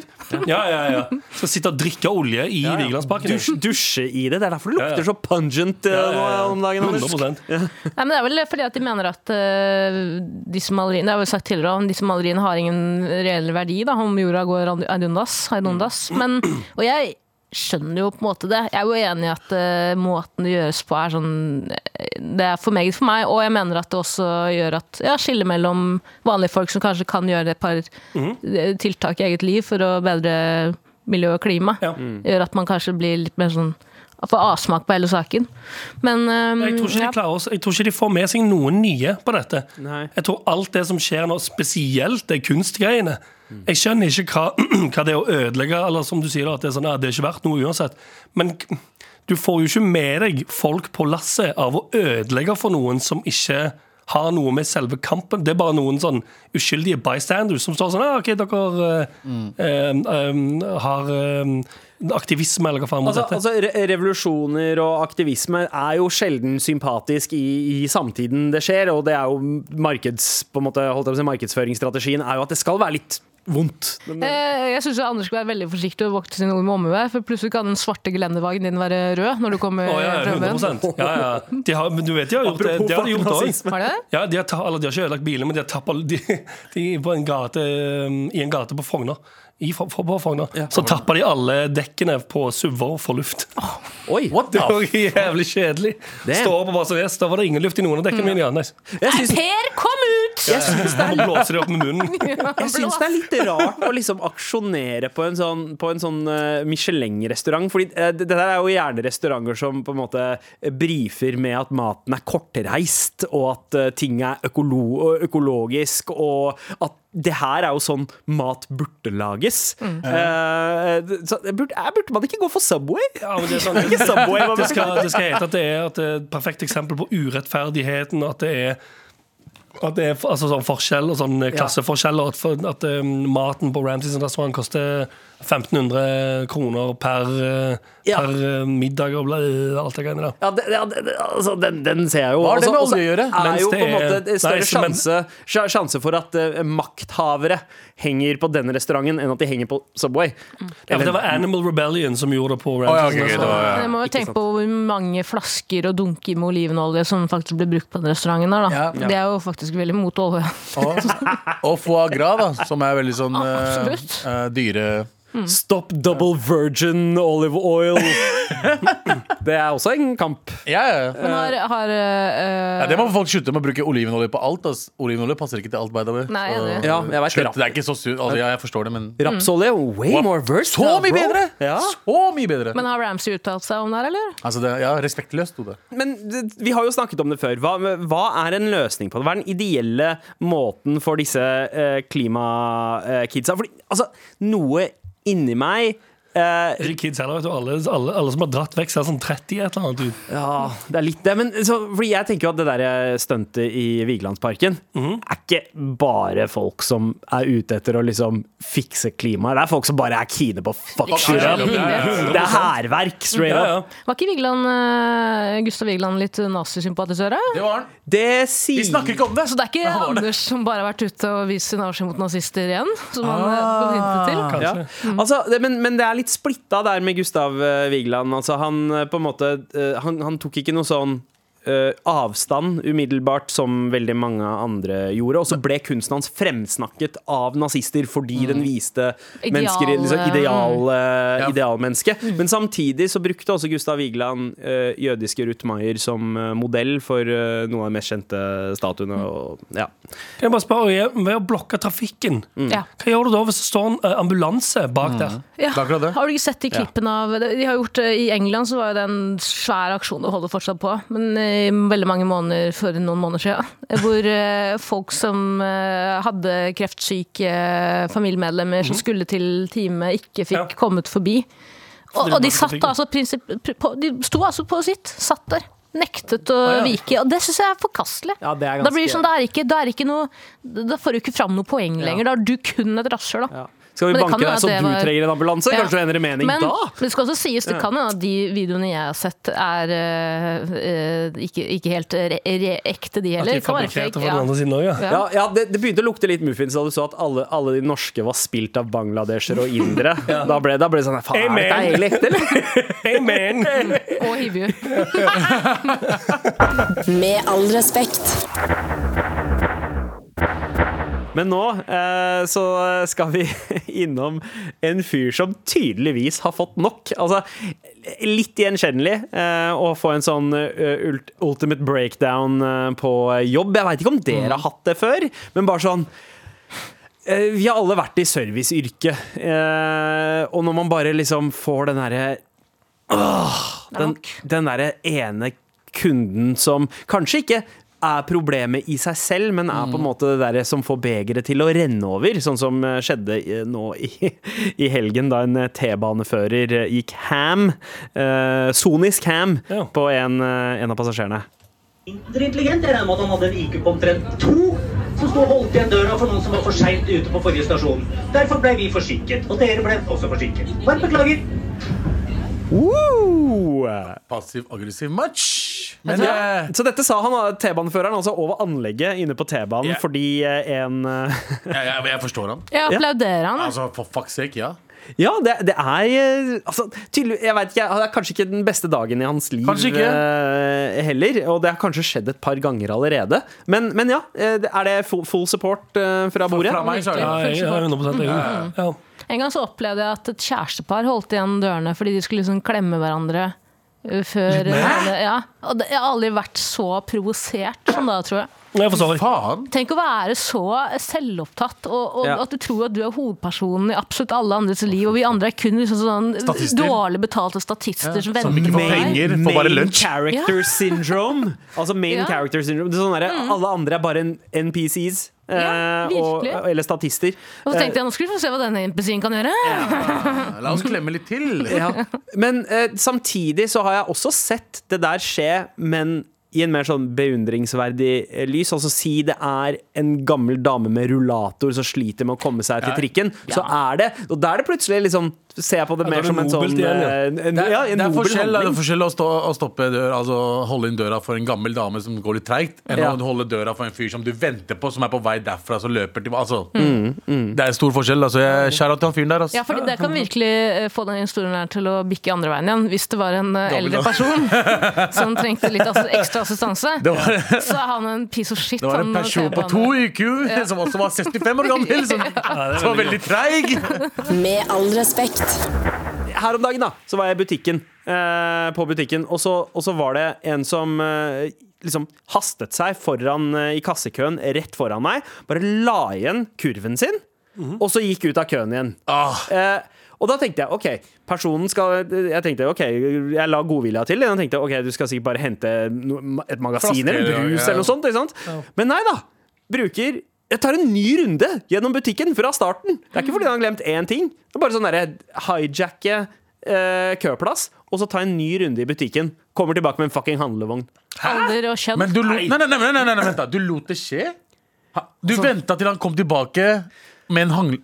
C: ja, ja, ja. Skal sitte og drikke olje i Vigelandsparken.
B: Dusj, Dusje i det. Det er derfor det
C: Ja, ja.
B: lukter så pungent eh,
C: Ja, ja, ja.
B: nå om dagen. Anders.
C: 100
E: Nei, men Det er vel fordi at de mener at eh, disse maleriene det har jeg vel sagt tidligere også, disse maleriene har ingen reell verdi da, om jorda går ad- ad undas. ad undas. Men, og jeg skjønner jo på en måte det. Jeg er jo enig i at eh, måten det gjøres på er sånn eh, Det er for meget for meg, og jeg mener at det også gjør at ja, skillet mellom vanlige folk som kanskje kan gjøre et par eh, tiltak i eget liv for å bedre miljø og klima,
C: Ja.
E: gjør at man kanskje blir litt mer sånn Får avsmak på hele saken. Men eh,
C: Jeg tror, ikke
E: ja.
C: de klarer oss. jeg tror ikke de får med seg noen nye på dette.
B: Nei.
C: Jeg tror alt det som skjer nå, spesielt det kunstgreiene
B: Mm.
C: Jeg skjønner ikke hva, hva det er å ødelegge, eller som du sier, da, at det er sånn, ja, det er ikke verdt noe uansett. Men k- du får jo ikke med deg folk på lasset av å ødelegge for noen som ikke har noe med selve kampen Det er bare noen sånn uskyldige bystanders som står sånn ah, OK, dere
B: Mm.
C: eh, eh, eh, har eh, aktivisme, eller hva faen mot
B: Altså,
C: dette.
B: altså, re revolusjoner og aktivisme er jo sjelden sympatisk i, i samtiden det skjer, og det er jo markeds, på en måte, holdt jeg på å si, markedsføringsstrategien er jo at det skal være litt vondt.
E: Eh, Jeg syns Anders skal være veldig forsiktig og vokte sine ord med omhu. her, For plutselig kan den svarte gelendervagen din være rød når du kommer
C: Å ja, ja,
E: frem med den.
C: 100 ja, ja. De har, Men du vet de har gjort det.
B: Apropos
C: Det har de gjort
B: fucking
C: også.
B: nazisme.
E: Har det?
C: Ja, de har, ta, eller de har ikke ødelagt bilen, men de har tappet de, de på en gate, um, i en gate på Frogner. I, Fro- Fro- på Frogner. Så tappa de alle dekkene på SUV-er for luft.
B: Oi.
C: Det var jævlig kjedelig.
B: Damn.
C: Står på bare som gjest. Da var det ingen luft i noen av dekkene mine. Ja, nice.
B: Jeg syns
E: Per, kom ut!
B: jeg syns det er
C: Og blåser de opp med munnen.
B: Jeg syns det er litt rart å liksom aksjonere på en sånn, på en sånn eh, Michelin-restaurant. Fordi eh, det det der er jo gjerne restauranter som på en måte eh, brifer med at maten er kortreist, og at eh, ting er økolo økologisk, og at det her er jo sånn mat burde lages. Eh, så det burde, eh, burde man ikke gå for Subway?
C: Ja, men det, er sånn,
B: Ikke Subway, hva
C: det, skal, det skal hete at det er at det er et perfekt eksempel på urettferdigheten. At det er at det er eh, altså sånn forskjell og sånn klasseforskjell, og at, for, at um, maten på Ramsays restaurant koster 1500 kroner per, eh,
B: Ja.
C: per eh, middag og bla, alt det greiene der.
B: Ja, det, ja, det, det- altså, den, den ser jeg jo.
D: Hva har det
B: Også-
D: med
B: også
D: olje å gjøre?
B: Er
C: Mens
B: jo på
C: det
B: en
C: er-
B: måte større
C: Nei, så- men-
B: sjanse, sja- sjanse for at eh, makthavere henger på denne restauranten, enn at de henger på Subway.
C: Ja, for
B: Eller-
C: det var Animal Rebellion som gjorde det på
D: Å,
C: Ransom.
D: ja, ok, ok, det var,
E: Jeg må jo
B: Ikke
E: tenke på hvor mange flasker og dunker med olivenolje som faktisk ble brukt på den restauranten. der da.
D: Ja.
E: Det er jo faktisk veldig mot olje.
D: Og, og foie gras, da, som er veldig sånn eh,
E: Absolutt.
D: eh, dyre
B: Stop double virgin olive oil. det er også en kamp.
D: Ja, ja.
E: Men har, har eh,
D: ja, det må folk slutte med å bruke olivenolje på alt. ass. Olivenolje passer ikke til alt, by the way.
E: Nei, jeg er enig.
B: Ja, jeg vet,
D: Slutt,
B: rap,
D: det er ikke så su altså, ja, Jeg forstår det, men
B: Rapsolje way more versatile.
D: Så mye
B: bro.
D: bedre!
B: Ja.
D: Så mye bedre
E: Men har Ramsay uttalt seg om det her, eller?
D: Altså, det, ja, respektløst sto det.
B: Men det- vi har jo snakket om det før. Hva, hva er en løsning på det? Hva er den ideelle måten for disse eh, klimakidsa? Fordi altså, noe inni meg eh,
C: Ikke kids heller, vet du. Alle, alle, alle som har dratt vekk, ser sånn 30 et eller annet ut.
B: Ja, det er litt det. Men så, fordi jeg tenker jo at det der eh, stuntet i Vigelandsparken
C: Mhm.
B: er ikke bare folk som er ute etter å liksom fikse klimaet. Det er folk som bare er kine på å fuck shit
C: Ja,
B: up. Det er hærverk, straight
C: ja,
B: up.
C: ja.
E: Var ikke Vigeland, eh, Gustav Vigeland litt nazisympatisør? da?
D: Det var den.
B: Det sier
D: Vi snakker ikke om det!
E: Så det er ikke Anders som bare har vært ute og vist sin avskjed mot nazister igjen? Som han ah. hintet til?
B: ja. altså, det, men, men det er litt splitta der med Gustav eh, Vigeland. Altså, han eh, på en måte eh, han, han tok ikke noe sånn eh, avstand umiddelbart, som veldig mange andre gjorde. Og så ble kunsten hans fremsnakket av nazister fordi den viste
E: Ideal-
B: mennesker i- liksom, ideal, eh,
D: Ja.
B: idealmenneske. Men samtidig så brukte også Gustav Vigeland eh, jødiske Ruth Maier som eh, modell for eh, noen av de mest kjente statuene. Og, ja.
C: Kan jeg bare spørre, og jeg- Ved å blokke trafikken,
B: Mm.
E: Ja.
C: hva gjør du da hvis det står en eh, ambulanse bak der?
E: Ja.
D: Det er akkurat det.
E: Har du ikke sett de klippene av De har gjort eh, I England så var jo det en svær aksjon og holder fortsatt på, men i veldig mange måneder for noen måneder siden, eh, hvor eh, folk som eh, hadde kreftsyke eh, familiemedlemmer som skulle til time, ikke fikk
C: Ja.
E: kommet forbi. Og, og de
C: Fordi
E: satt
C: det var
E: altså prinsipp... pri- på- De sto altså på sitt, satt der. Nektet å
C: ja.
E: vike. Og det syns jeg er forkastelig.
B: Ja, det er
E: da blir det
B: ganske-
E: sånn, da er ikke, da er ikke noe Da får du ikke fram noe poeng lenger. Da er du kun et rasshøl, da.
B: Ja. Skal vi
E: Men det
B: banke
E: kan jo
B: deg
E: at
B: så
E: det
B: du
E: var-
B: trenger en ambulanse?
E: Ja.
B: Kanskje du endrer mening
E: Men,
B: da?
E: men det skal også sies, det kan hende at de videoene jeg har sett, er eh, eh, ikke, ikke helt re re ekte,
C: At
E: de
C: de
E: heller.
C: er
E: Kan være
C: fabrikkerte
E: fake,
C: fra den andre siden også, ja.
E: Ja.
B: Ja, ja det, det begynte å lukte litt muffins da du så at alle, alle de norske var spilt av bangladesere og indere. Da ble da ble det sånn Faen, er dette
C: Amen.
B: egentlig ekte, eller?
C: Amen!
E: Og hivju.
H: Med all respekt.
B: Men nå eh, så skal vi innom en fyr som tydeligvis har fått nok. Altså litt gjenkjennelig eh, å få en sånn eh, ult ultimate breakdown eh, på jobb. Jeg veit ikke om
E: Mm.
B: dere har hatt det før, men bare sånn eh, Vi har alle vært i serviceyrket, eh, og når man bare liksom får den derre den, den derre ene kunden som kanskje ikke er problemet i seg selv, men er på en måte det derre som får begeret til å renne over. Sånn som eh, skjedde i- nå i, i helgen, da en eh, T-banefører eh, gikk ham, eh, sonisk ham,
C: Ja.
B: på en, eh, en av passasjerene.
I: mindre intelligent. Jeg regner med at han hadde en IQ på omtrent to, som sto og holdt igjen døra for noen som var for seint ute på forrige stasjon. Derfor ble vi forsinket, og dere ble også forsinket. Bare beklager.
B: Woo!
D: Passiv-aggressiv match.
B: Men,
D: det,
B: ja. Så dette sa han eh, T-baneføreren altså over anlegget inne på T-banen
D: Ja.
B: fordi eh, en eh,
D: jeg, jeg, jeg forstår han.
E: Jeg applauderer han.
D: Altså, For fuck's sake, ja.
B: Ja, det, det er eh, altså, tydelig, Jeg vet ikke, det er kanskje ikke den beste dagen i hans liv
D: Kanskje ikke.
B: eh, heller. Og det har kanskje skjedd et par ganger allerede. Men, men ja, eh, er det full, full support eh, fra bordet?
D: Fra meg, så er det
C: Ja, jeg, jeg, er 100 enig. Ja.
E: En gang så opplevde jeg at et kjærestepar holdt igjen dørene fordi de skulle liksom klemme hverandre. uh, Før, ja. Og det, jeg har aldri vært så provosert som da, tror jeg.
C: Jeg forstår.
D: Faen!
E: Tenk å være så selvopptatt, og, og
B: Ja.
E: at du tror at du er hovedpersonen i absolutt alle andres liv, og vi andre er kun liksom sånn
D: Statister.
E: dårlig betalte statister som
D: Som
E: venter
D: ikke
E: på
D: får
E: deg.
D: penger, får bare lunsj.
B: character
E: Ja.
B: syndrome. Altså main
E: Ja. Mm.
B: character syndrome. Det er sånn derre, Alle andre er bare en- NPCs. eh,
E: Ja,
B: og,
E: virkelig.
B: eller statister.
E: Og så
D: Eh,
E: tenkte jeg nå skal vi få se hva denne impesien kan gjøre.
D: La oss klemme litt til.
B: Ja. Men eh, samtidig så har jeg også sett det der skje, men i en mer sånn beundringsverdig eh, lys. Altså si det er en gammel dame med rullator som sliter med å komme seg til trikken, så er det Og da er det plutselig liksom Ser jeg på det
C: da er
B: mer
C: det
B: som en sånn
C: nobelt igjen, ja.
B: eh, en, en,
D: Det er,
B: ja, en
D: det er
B: nobel
D: forskjell, da. det
B: handling.
D: er forskjell å, stå, å stoppe dør, altså holde inn døra for en gammel dame som går litt treigt, enn
B: Ja.
D: å holde døra for en fyr som du venter på, som er på vei derfra, som løper til altså,
B: Mm,
D: Det er stor forskjell. Altså, jeg skjærer til han fyren der. Altså.
E: Ja, for det kan virkelig eh, få den historien her til å bikke andre veien igjen. Hvis det var en eh, eldre person som trengte litt ass- ekstra assistanse,
D: Det var,
E: så er han en piece of shit.
D: det var en
E: han
C: Sånn
D: person på
E: TV-brannen.
D: to IQ som også var 65 år gammel, som, som var veldig treig.
H: Med all respekt.
B: her om dagen da, så var jeg i butikken eh, På butikken og så, og så var det en som eh, liksom hastet seg foran eh, i kassekøen Rett foran meg Bare la igjen kurven sin Og så gikk ut av køen igjen eh, Og da tenkte jeg, ok Personen skal, jeg tenkte, ok Jeg la godvilja til, og tenkte, ok Du skal sikkert bare hente no, et magasin Eller en
D: Flaske, ja,
B: brus
D: ja.
B: eller noe sånt, ikke sant? Men nei da, bruker jeg tar en ny runde gjennom butikken fra starten. Det er ikke fordi han har glemt én ting. Det er bare sånn derre hijacke eh, køplass, og så ta en ny runde i butikken. Kommer tilbake med en fucking handlevogn.
E: Alder og kjønn.
D: Men du lot, nei, nei, nei, nei, nei, nei, vent da. Du lot det skje? Ha- Du
C: Altså-
D: venta til han kom tilbake med en hang...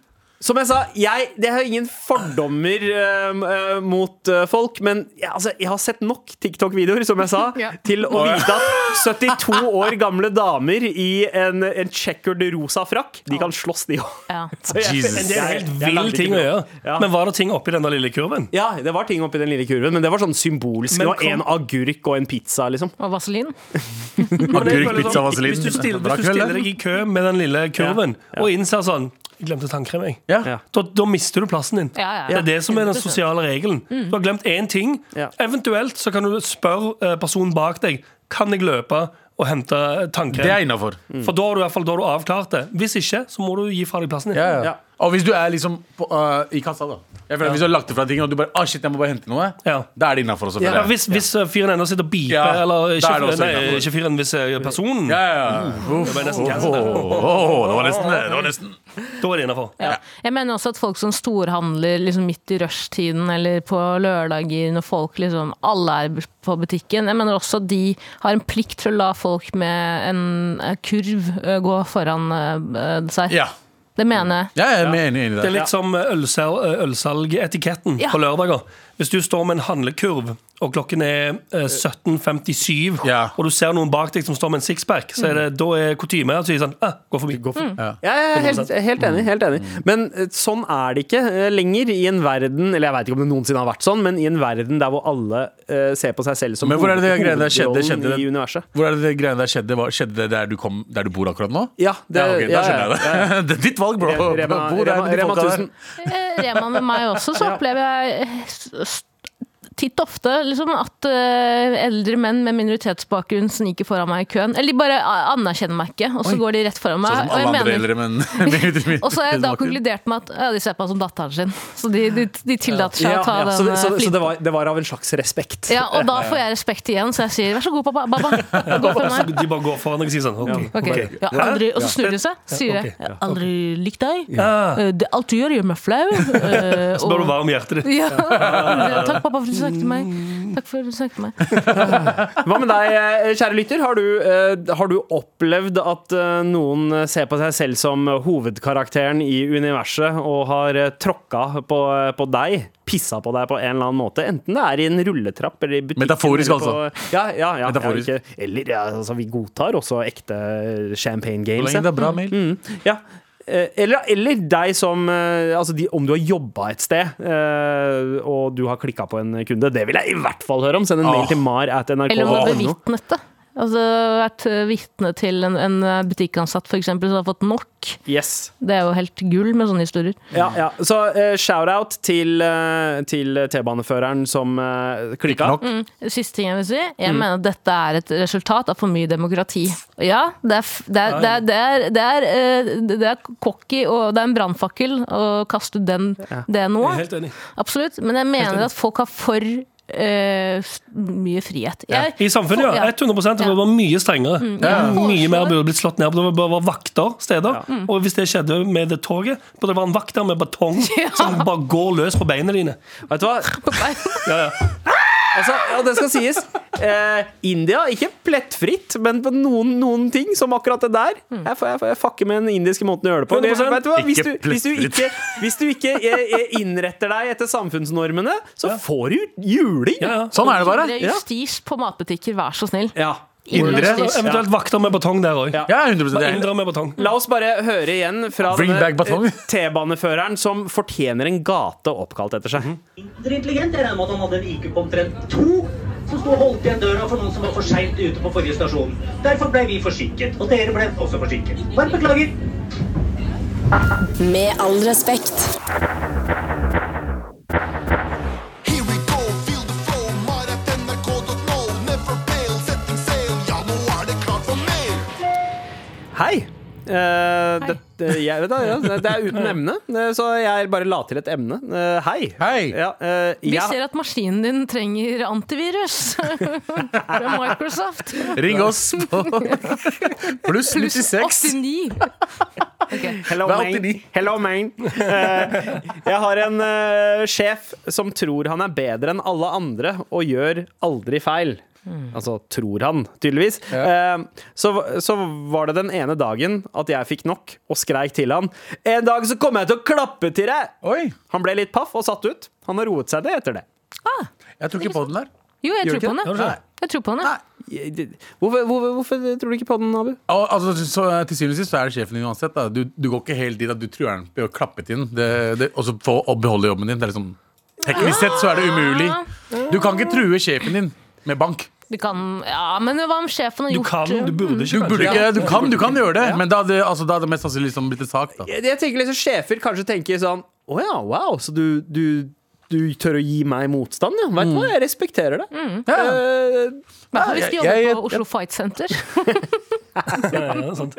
B: Som jeg sa, jeg, jeg har ingen fordommer eh, eh, mot eh, folk, men jeg, altså, jeg har sett nok TikTok-videoer, som jeg sa,
E: Ja.
B: til å vite at 72 år gamle damer i en, en checkered rosa frakk, de kan slåss, de òg.
E: Ja.
D: Jesus.
C: Men det er en helt
B: Jeg- jeg
C: vill
B: lagde ikke
C: ting å
B: noe.
C: gjøre.
B: Ja.
C: Men var det ting oppi den der lille kurven?
B: Ja, det var ting oppi den lille kurven, men det var sånn symbolsk.
C: Men
B: det var
C: kom-
B: en agurk og en pizza, liksom.
E: Og vaselin.
D: Agurk,
C: Men jeg føler
D: pizza,
C: sånn,
D: vaselin.
C: Hvis du stiller,
D: Bra
C: hvis du
D: kveld,
C: stiller
D: det.
C: deg i kø med den lille kurven
B: Ja, ja.
C: og innser sånn jeg glemte tannkrem, jeg.
D: Ja.
B: Ja.
C: Da, da mister du plassen din.
E: Ja, ja,
C: Det
E: ja.
C: er det som er den sosiale regelen. Du har glemt én ting.
B: Ja.
C: Eventuelt så kan du spørre eh, personen bak deg Kan jeg løpe og hente eh,
D: Det er
C: tannkrem.
D: innafor.
C: For da har du i hvert fall da har du avklart det. Hvis ikke, så må du gi fra deg plassen din.
D: Ja, ja.
B: Ja.
D: Og hvis du er liksom på, øh, i kassa, da. Jeg føler at Hvis du har lagt ifra ting og du bare ah, shit, jeg må bare hente noe,
C: Ja.
D: da er det innafor også. føler
C: Ja,
D: jeg.
C: hvis, hvis eh, fyren ennå sitter og biper,
D: Ja,
C: eller
D: da
C: ikke,
D: er det også
C: nei,
D: innenfor.
C: ikke fyren, hvis eh, personen,
D: Ja, ja, ja.
E: Mm.
D: Uff.
C: ble nesten
D: Åh,
C: cancelled.
D: åh, det var nesten det. det var nesten.
C: da er det innafor.
E: Ja. Jeg mener også at folk som storhandler liksom midt i rushtiden eller på lørdager når folk liksom alle er b- på butikken, jeg mener også at de har en plikt til å la folk med en eh, kurv eh, gå foran eh, eh, seg.
D: Ja.
E: Det mener jeg.
D: ja, jeg er enig, enig i
C: Det er
D: det.
C: litt som eh, ølsal, ølsalgetiketten
E: Ja.
C: på lørdager. Hvis du står med en handlekurv, og klokken er eh, 17.57,
D: Ja. Mm.
C: og du ser noen bak deg som står med en sixpack, så er det da er kutyme at du sier sånn ah, Gå forbi.
B: Ja, jeg er helt, helt enig. helt enig
D: Mm.
B: Men eh, sånn er det ikke eh, lenger i en verden Eller jeg vet ikke om det noensinne har vært sånn, men i en verden der hvor alle eh, ser på seg selv som
D: Men hvor er det det
B: hoved-
D: greiene der skjedde?
B: hovedrollen
D: Skjedde det-
B: i universet.
D: Hvor er det det greiene der skjedde? Hva- Skjedde det der du, kom, der du bor akkurat nå?
B: Ja, det,
D: ja, ok, Da skjønner
B: ja, ja.
D: jeg det. Det er ditt valg, bro.
B: Rema,
D: Hvor er
B: Rema,
D: de
B: Rema
D: folka der?
B: 1000.
E: Eh, Rema med meg også, så opplever jeg eh, s- s- titt ofte liksom, at eh, eldre menn med minoritetsbakgrunn sniker foran meg i køen. Eller de bare eh, anerkjenner meg ikke, og så går de rett foran meg.
D: Sånn som
E: og jeg
D: alle andre
E: mener-
D: eldre, men men-
E: Og så har jeg da
D: men-
E: konkludert med at ja, de ser på meg som datteren sin. Så de, de, de tillater seg å ta
B: Ja, ja. Så,
E: den
B: det- så,
E: eh,
B: så
E: flinten.
B: det, var, det var av en slags respekt.
E: Ja, og da får jeg respekt igjen, så jeg sier vær så god, pappa. Baba. Gå for
C: Så
E: meg.
C: de bare går foran deg og sier sånn. OK.
E: Ok.
C: ok.
E: Ja, aldri, og så snur de seg, sier jeg. Jeg har aldri likt deg.
C: Ah,
E: Eh, Det, alt du gjør, gjør meg flau. eh,
C: så bør du
E: og-
C: varme hjertet ditt.
E: Ja. Takk, pappa, for at du snakket til meg. Takk for at du snakket til meg.
B: Hva med deg, eh, kjære lytter? Har du, eh, har du opplevd at eh, noen eh, ser på seg selv som hovedkarakteren i universet og har eh, tråkka på, eh, på deg? Pissa på deg på en eller annen måte? Enten det er i en rulletrapp eller i butikken.
D: Metaforisk,
B: eller på,
D: altså.
B: Ja, ja, ja,
D: Metaforisk.
B: ja, ikke- Eller ja, altså, vi godtar også ekte champagne
D: Så
B: games.
D: lenge
B: ja.
D: det er bra
E: Mm.
D: mail.
B: Ja. Eh, Eller, eller deg som eh, Altså de, om du har jobba et sted eh, og du har klikka på en kunde. Det vil jeg i hvert fall høre om! Send en mail
D: Åh.
B: til mar at
E: Eller om du har
B: nrk.no.
E: bevitnet det. Altså vært eh, vitne til en, en eh, butikkansatt for eksempel, som har fått nok.
B: Yes.
E: Det er jo helt gull med sånne historier.
B: Ja, ja. Så eh, shout-out til, eh, til T-baneføreren som uh, klikka.
D: nok.
E: Siste ting jeg vil si. Jeg mener at dette er et resultat av for mye demokrati. Ja, det er, f- det er, det er, det er, det er, eh, det er cocky, og det er en brannfakkel å kaste ut den, det nå.
C: Jeg er helt enig.
E: Absolutt. Men jeg mener at folk har for eh, s- mye frihet. Jeg,
C: I samfunnet, ja.
E: Ja.
C: 100 Det var mye strengere. Mm. Mye mer burde blitt slått ned. Det burde bare være vakter steder.
D: Mm.
C: Og hvis det skjedde med det toget, burde det være en vakt der med batong som bare går løs på beina dine.
B: Vet du hva?
E: på vei-
C: Ja, ja.
B: Altså, og det skal sies, eh, India, ikke plettfritt, men på noen, noen ting, som akkurat det der. Jeg, får- jeg, får- jeg fucker med den indiske måten å gjøre det på. Det-
C: 100%
B: vet du hva? Hvis, du,
C: ikke
B: hvis, du ikke, hvis du ikke eh, eh, innretter deg etter samfunnsnormene, så får du juling.
C: Ja, ja.
D: Sånn er det bare.
E: Indre
B: Ja.
E: justis på matbutikker, vær så snill.
B: Ja.
D: Indre.
C: Og Eventuelt vakter med batong der òg.
D: Ja, 100 det er.
C: Indre med batong.
B: La oss bare høre igjen fra
D: Bring
B: denne
D: back batong.
B: eh, T-baneføreren som fortjener en gate oppkalt etter
D: Mhm.
B: seg.
I: mindre intelligent. Jeg regner med at han hadde en IQ på omtrent to, som sto og holdt igjen døra for noen som var for seint ute på forrige stasjon. Derfor ble vi forsinket, og dere ble også forsinket. Bare beklager.
H: Med all respekt.
J: Here we go, feel the flow. Maratnrk.no, never fail. Setting sail, ja, nå er det klart for mer.
B: Hei! Eh, det, det, jeg, vet da, ja, det er uten emne, eh, så jeg bare la til et emne. Eh, hei.
D: Hei.
B: Ja, eh,
E: Vi
B: jeg-
E: ser at maskinen din trenger antivirus fra Microsoft.
D: Ring oss på pluss 96.
E: 89.
B: Hello,
D: Hva er
B: man.
D: 89?
B: Hello, man. Eh, jeg har en eh, sjef som tror han er bedre enn alle andre og gjør aldri feil.
E: Hmm.
B: Altså tror han, tydeligvis. Eh, så, så var det den ene dagen at jeg fikk nok og skreik til han. En dag så kommer jeg til å klappe til deg!
D: Oi,
B: Han ble litt paff og satt ut. Han har roet seg det etter det.
D: jeg tror ikke på den der.
E: Ah, Jo, jeg
B: Gjør
E: tror
B: ikke
E: på
B: det?
E: henne.
D: Nei.
E: Jeg tror på henne.
B: Hvorfor, hvorfor, hvorfor tror du ikke på den, Abu?
D: Og, altså, så, til syvende og sist så er det sjefen din uansett. Da. Du, du går ikke helt dit at du truer den ved å klappe til den det, det, og så få å beholde jobben din. Det er liksom, teknisk sett så er det umulig. Du kan ikke true sjefen din med bank.
E: Du kan, ja, men hva om sjefen har
C: Du
E: gjort Mm. eh,
C: kan, du burde
D: Du,
C: ikke.
D: burde
C: kanskje.
D: ikke, du, kan, du kan gjøre det, men da hadde altså, da hadde det mest sannsynlig liksom blitt en sak. Da.
B: Jeg, jeg tenker liksom Sjefer kanskje tenker sånn Å ja, wow, så du, du, du tør å gi meg motstand, ja? Vet du hva, jeg respekterer det. Eh,
E: Hvertfall hvis de
D: Jeg- jeg-
E: jobber på Oslo Fight Center.
C: Ja, ja, sant.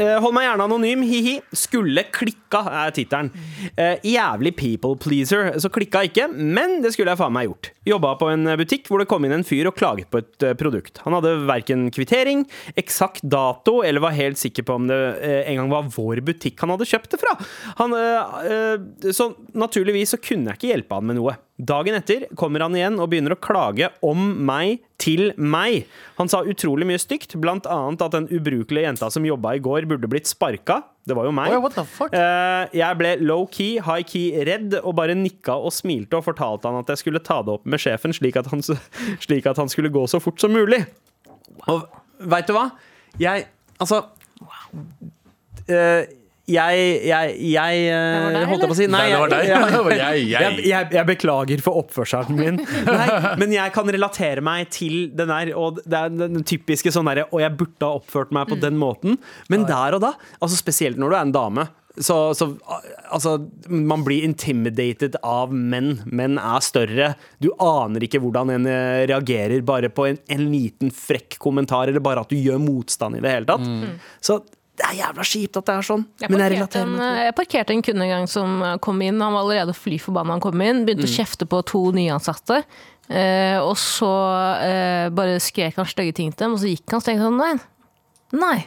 B: eh, hold meg gjerne anonym, hi-hi. Skulle klikka, er tittelen. Eh, jævlig people pleaser. Så klikka ikke, men det skulle jeg faen meg gjort. Jobba på en butikk hvor det kom inn en fyr og klaget på et eh, produkt. Han hadde verken kvittering, eksakt dato eller var helt sikker på om det eh, en gang var vår butikk han hadde kjøpt det fra. Han, eh, eh, så naturligvis så kunne jeg ikke hjelpe han med noe. Dagen etter kommer han igjen og begynner å klage om meg til meg. Han sa utrolig mye stygt, blant annet at den ubrukelige jenta som jobba i går, burde blitt sparka. Det var jo meg.
D: Oi, what the fuck?
B: Eh, jeg ble low-key, high-key redd og bare nikka og smilte og fortalte han at jeg skulle ta det opp med sjefen, slik at han, s- slik at han skulle gå så fort som mulig. Og veit du hva? Jeg Altså eh, jeg, jeg, jeg eh,
E: Det var deg,
B: holdt jeg på å si Nei,
D: det
B: jeg-
D: var deg.
B: jeg-
D: Det var jeg, jeg.
B: jeg, jeg, jeg beklager for oppførselen min, Nei, men jeg kan relatere meg til den der. Og det er den typiske sånn derre Og jeg burde ha oppført meg på den måten. Men der og da, altså spesielt når du er en dame. Så, så altså, man blir intimidated av menn. Menn er større. Du aner ikke hvordan en eh, reagerer bare på en, en liten frekk kommentar, eller bare at du gjør motstand i det hele tatt. Så det er jævla kjipt at det er sånn, men jeg
E: Jeg parkerte,
B: relaterer
E: en,
B: meg til det.
E: jeg parkerte en kunde en gang som eh, kom inn. Han var allerede fly forbanna han kom inn.
B: Mm.
E: Begynte å kjefte på to nyansatte. Eh, og så eh, bare skrek han stygge ting til dem, og så gikk han og tenkte sånn nei. Nei.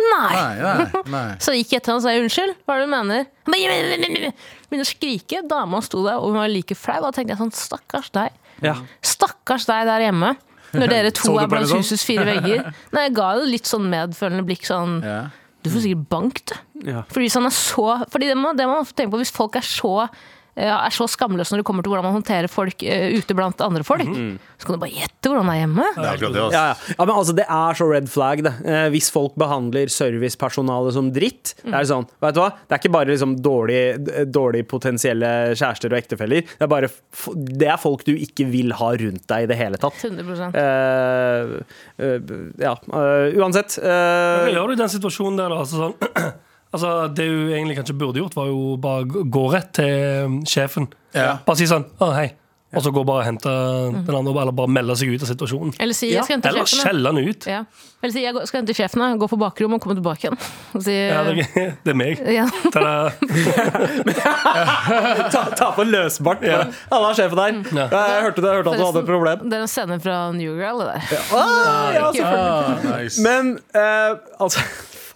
E: Nei.
D: Nei, nei, nei.
E: Så gikk jeg etter han og sa unnskyld, hva er det du mener? Han bare, «Men, men, men, men». Begynte å skrike. Dama sto der og hun var like flau. Da tenkte jeg sånn stakkars deg.
B: Ja.
E: Stakkars deg der hjemme. Når dere to
D: Så du
E: er
D: på henne
E: blant
D: sånn?
E: husets fire vegger. Nei, jeg ga jo litt sånn medfølende blikk sånn
D: Ja.
E: Du får sikkert bank, du.
B: Ja.
E: Fordi, hvis han er så, fordi det, må, det må man ofte tenke på hvis folk er så eh, er så skamløse når det kommer til hvordan man håndterer folk eh, ute blant andre folk. Så kan du bare gjette hvordan det er hjemme.
D: Det er akkurat det,
B: Ja,
D: altså.
B: ja. ja, men altså Det er så red flag, det. Eh, hvis folk behandler servicepersonalet som dritt. Det er sånn, vet du hva? Det er ikke bare liksom dårlig, d- dårlig potensielle kjærester og ektefeller. Det er, bare, f- det er folk du ikke vil ha rundt deg i det hele tatt.
E: 100
B: Eh, eh, ja, eh, uansett. eh,
C: Hva gjør du i den situasjonen der, da? Altså, sånn, altså, det du egentlig kanskje burde gjort, var jo bare gå- gå rett til um, sjefen.
D: Ja.
C: Bare si sånn Å, hei. Og så gå bare og hente den andre, eller bare melde seg ut av situasjonen.
E: Eller si jeg skal hente
C: Eller
E: sjefen. da».
C: skjelle han ut.
E: Ja. Eller si jeg går- skal hente sjefen, da. gå på bakrommet og komme tilbake igjen. Og si,
C: Ja, det, er- det er meg.
E: ja.
C: Ta-da.
B: ta, ta på løsbart. Ja. Halla, sjefen der. Jeg hørte, det, jeg hørte at du hadde et problem.
E: Det er en scene fra New Girl, det der.
B: Ah, ja, selvfølgelig.
D: Ah, nice.
B: Men eh, altså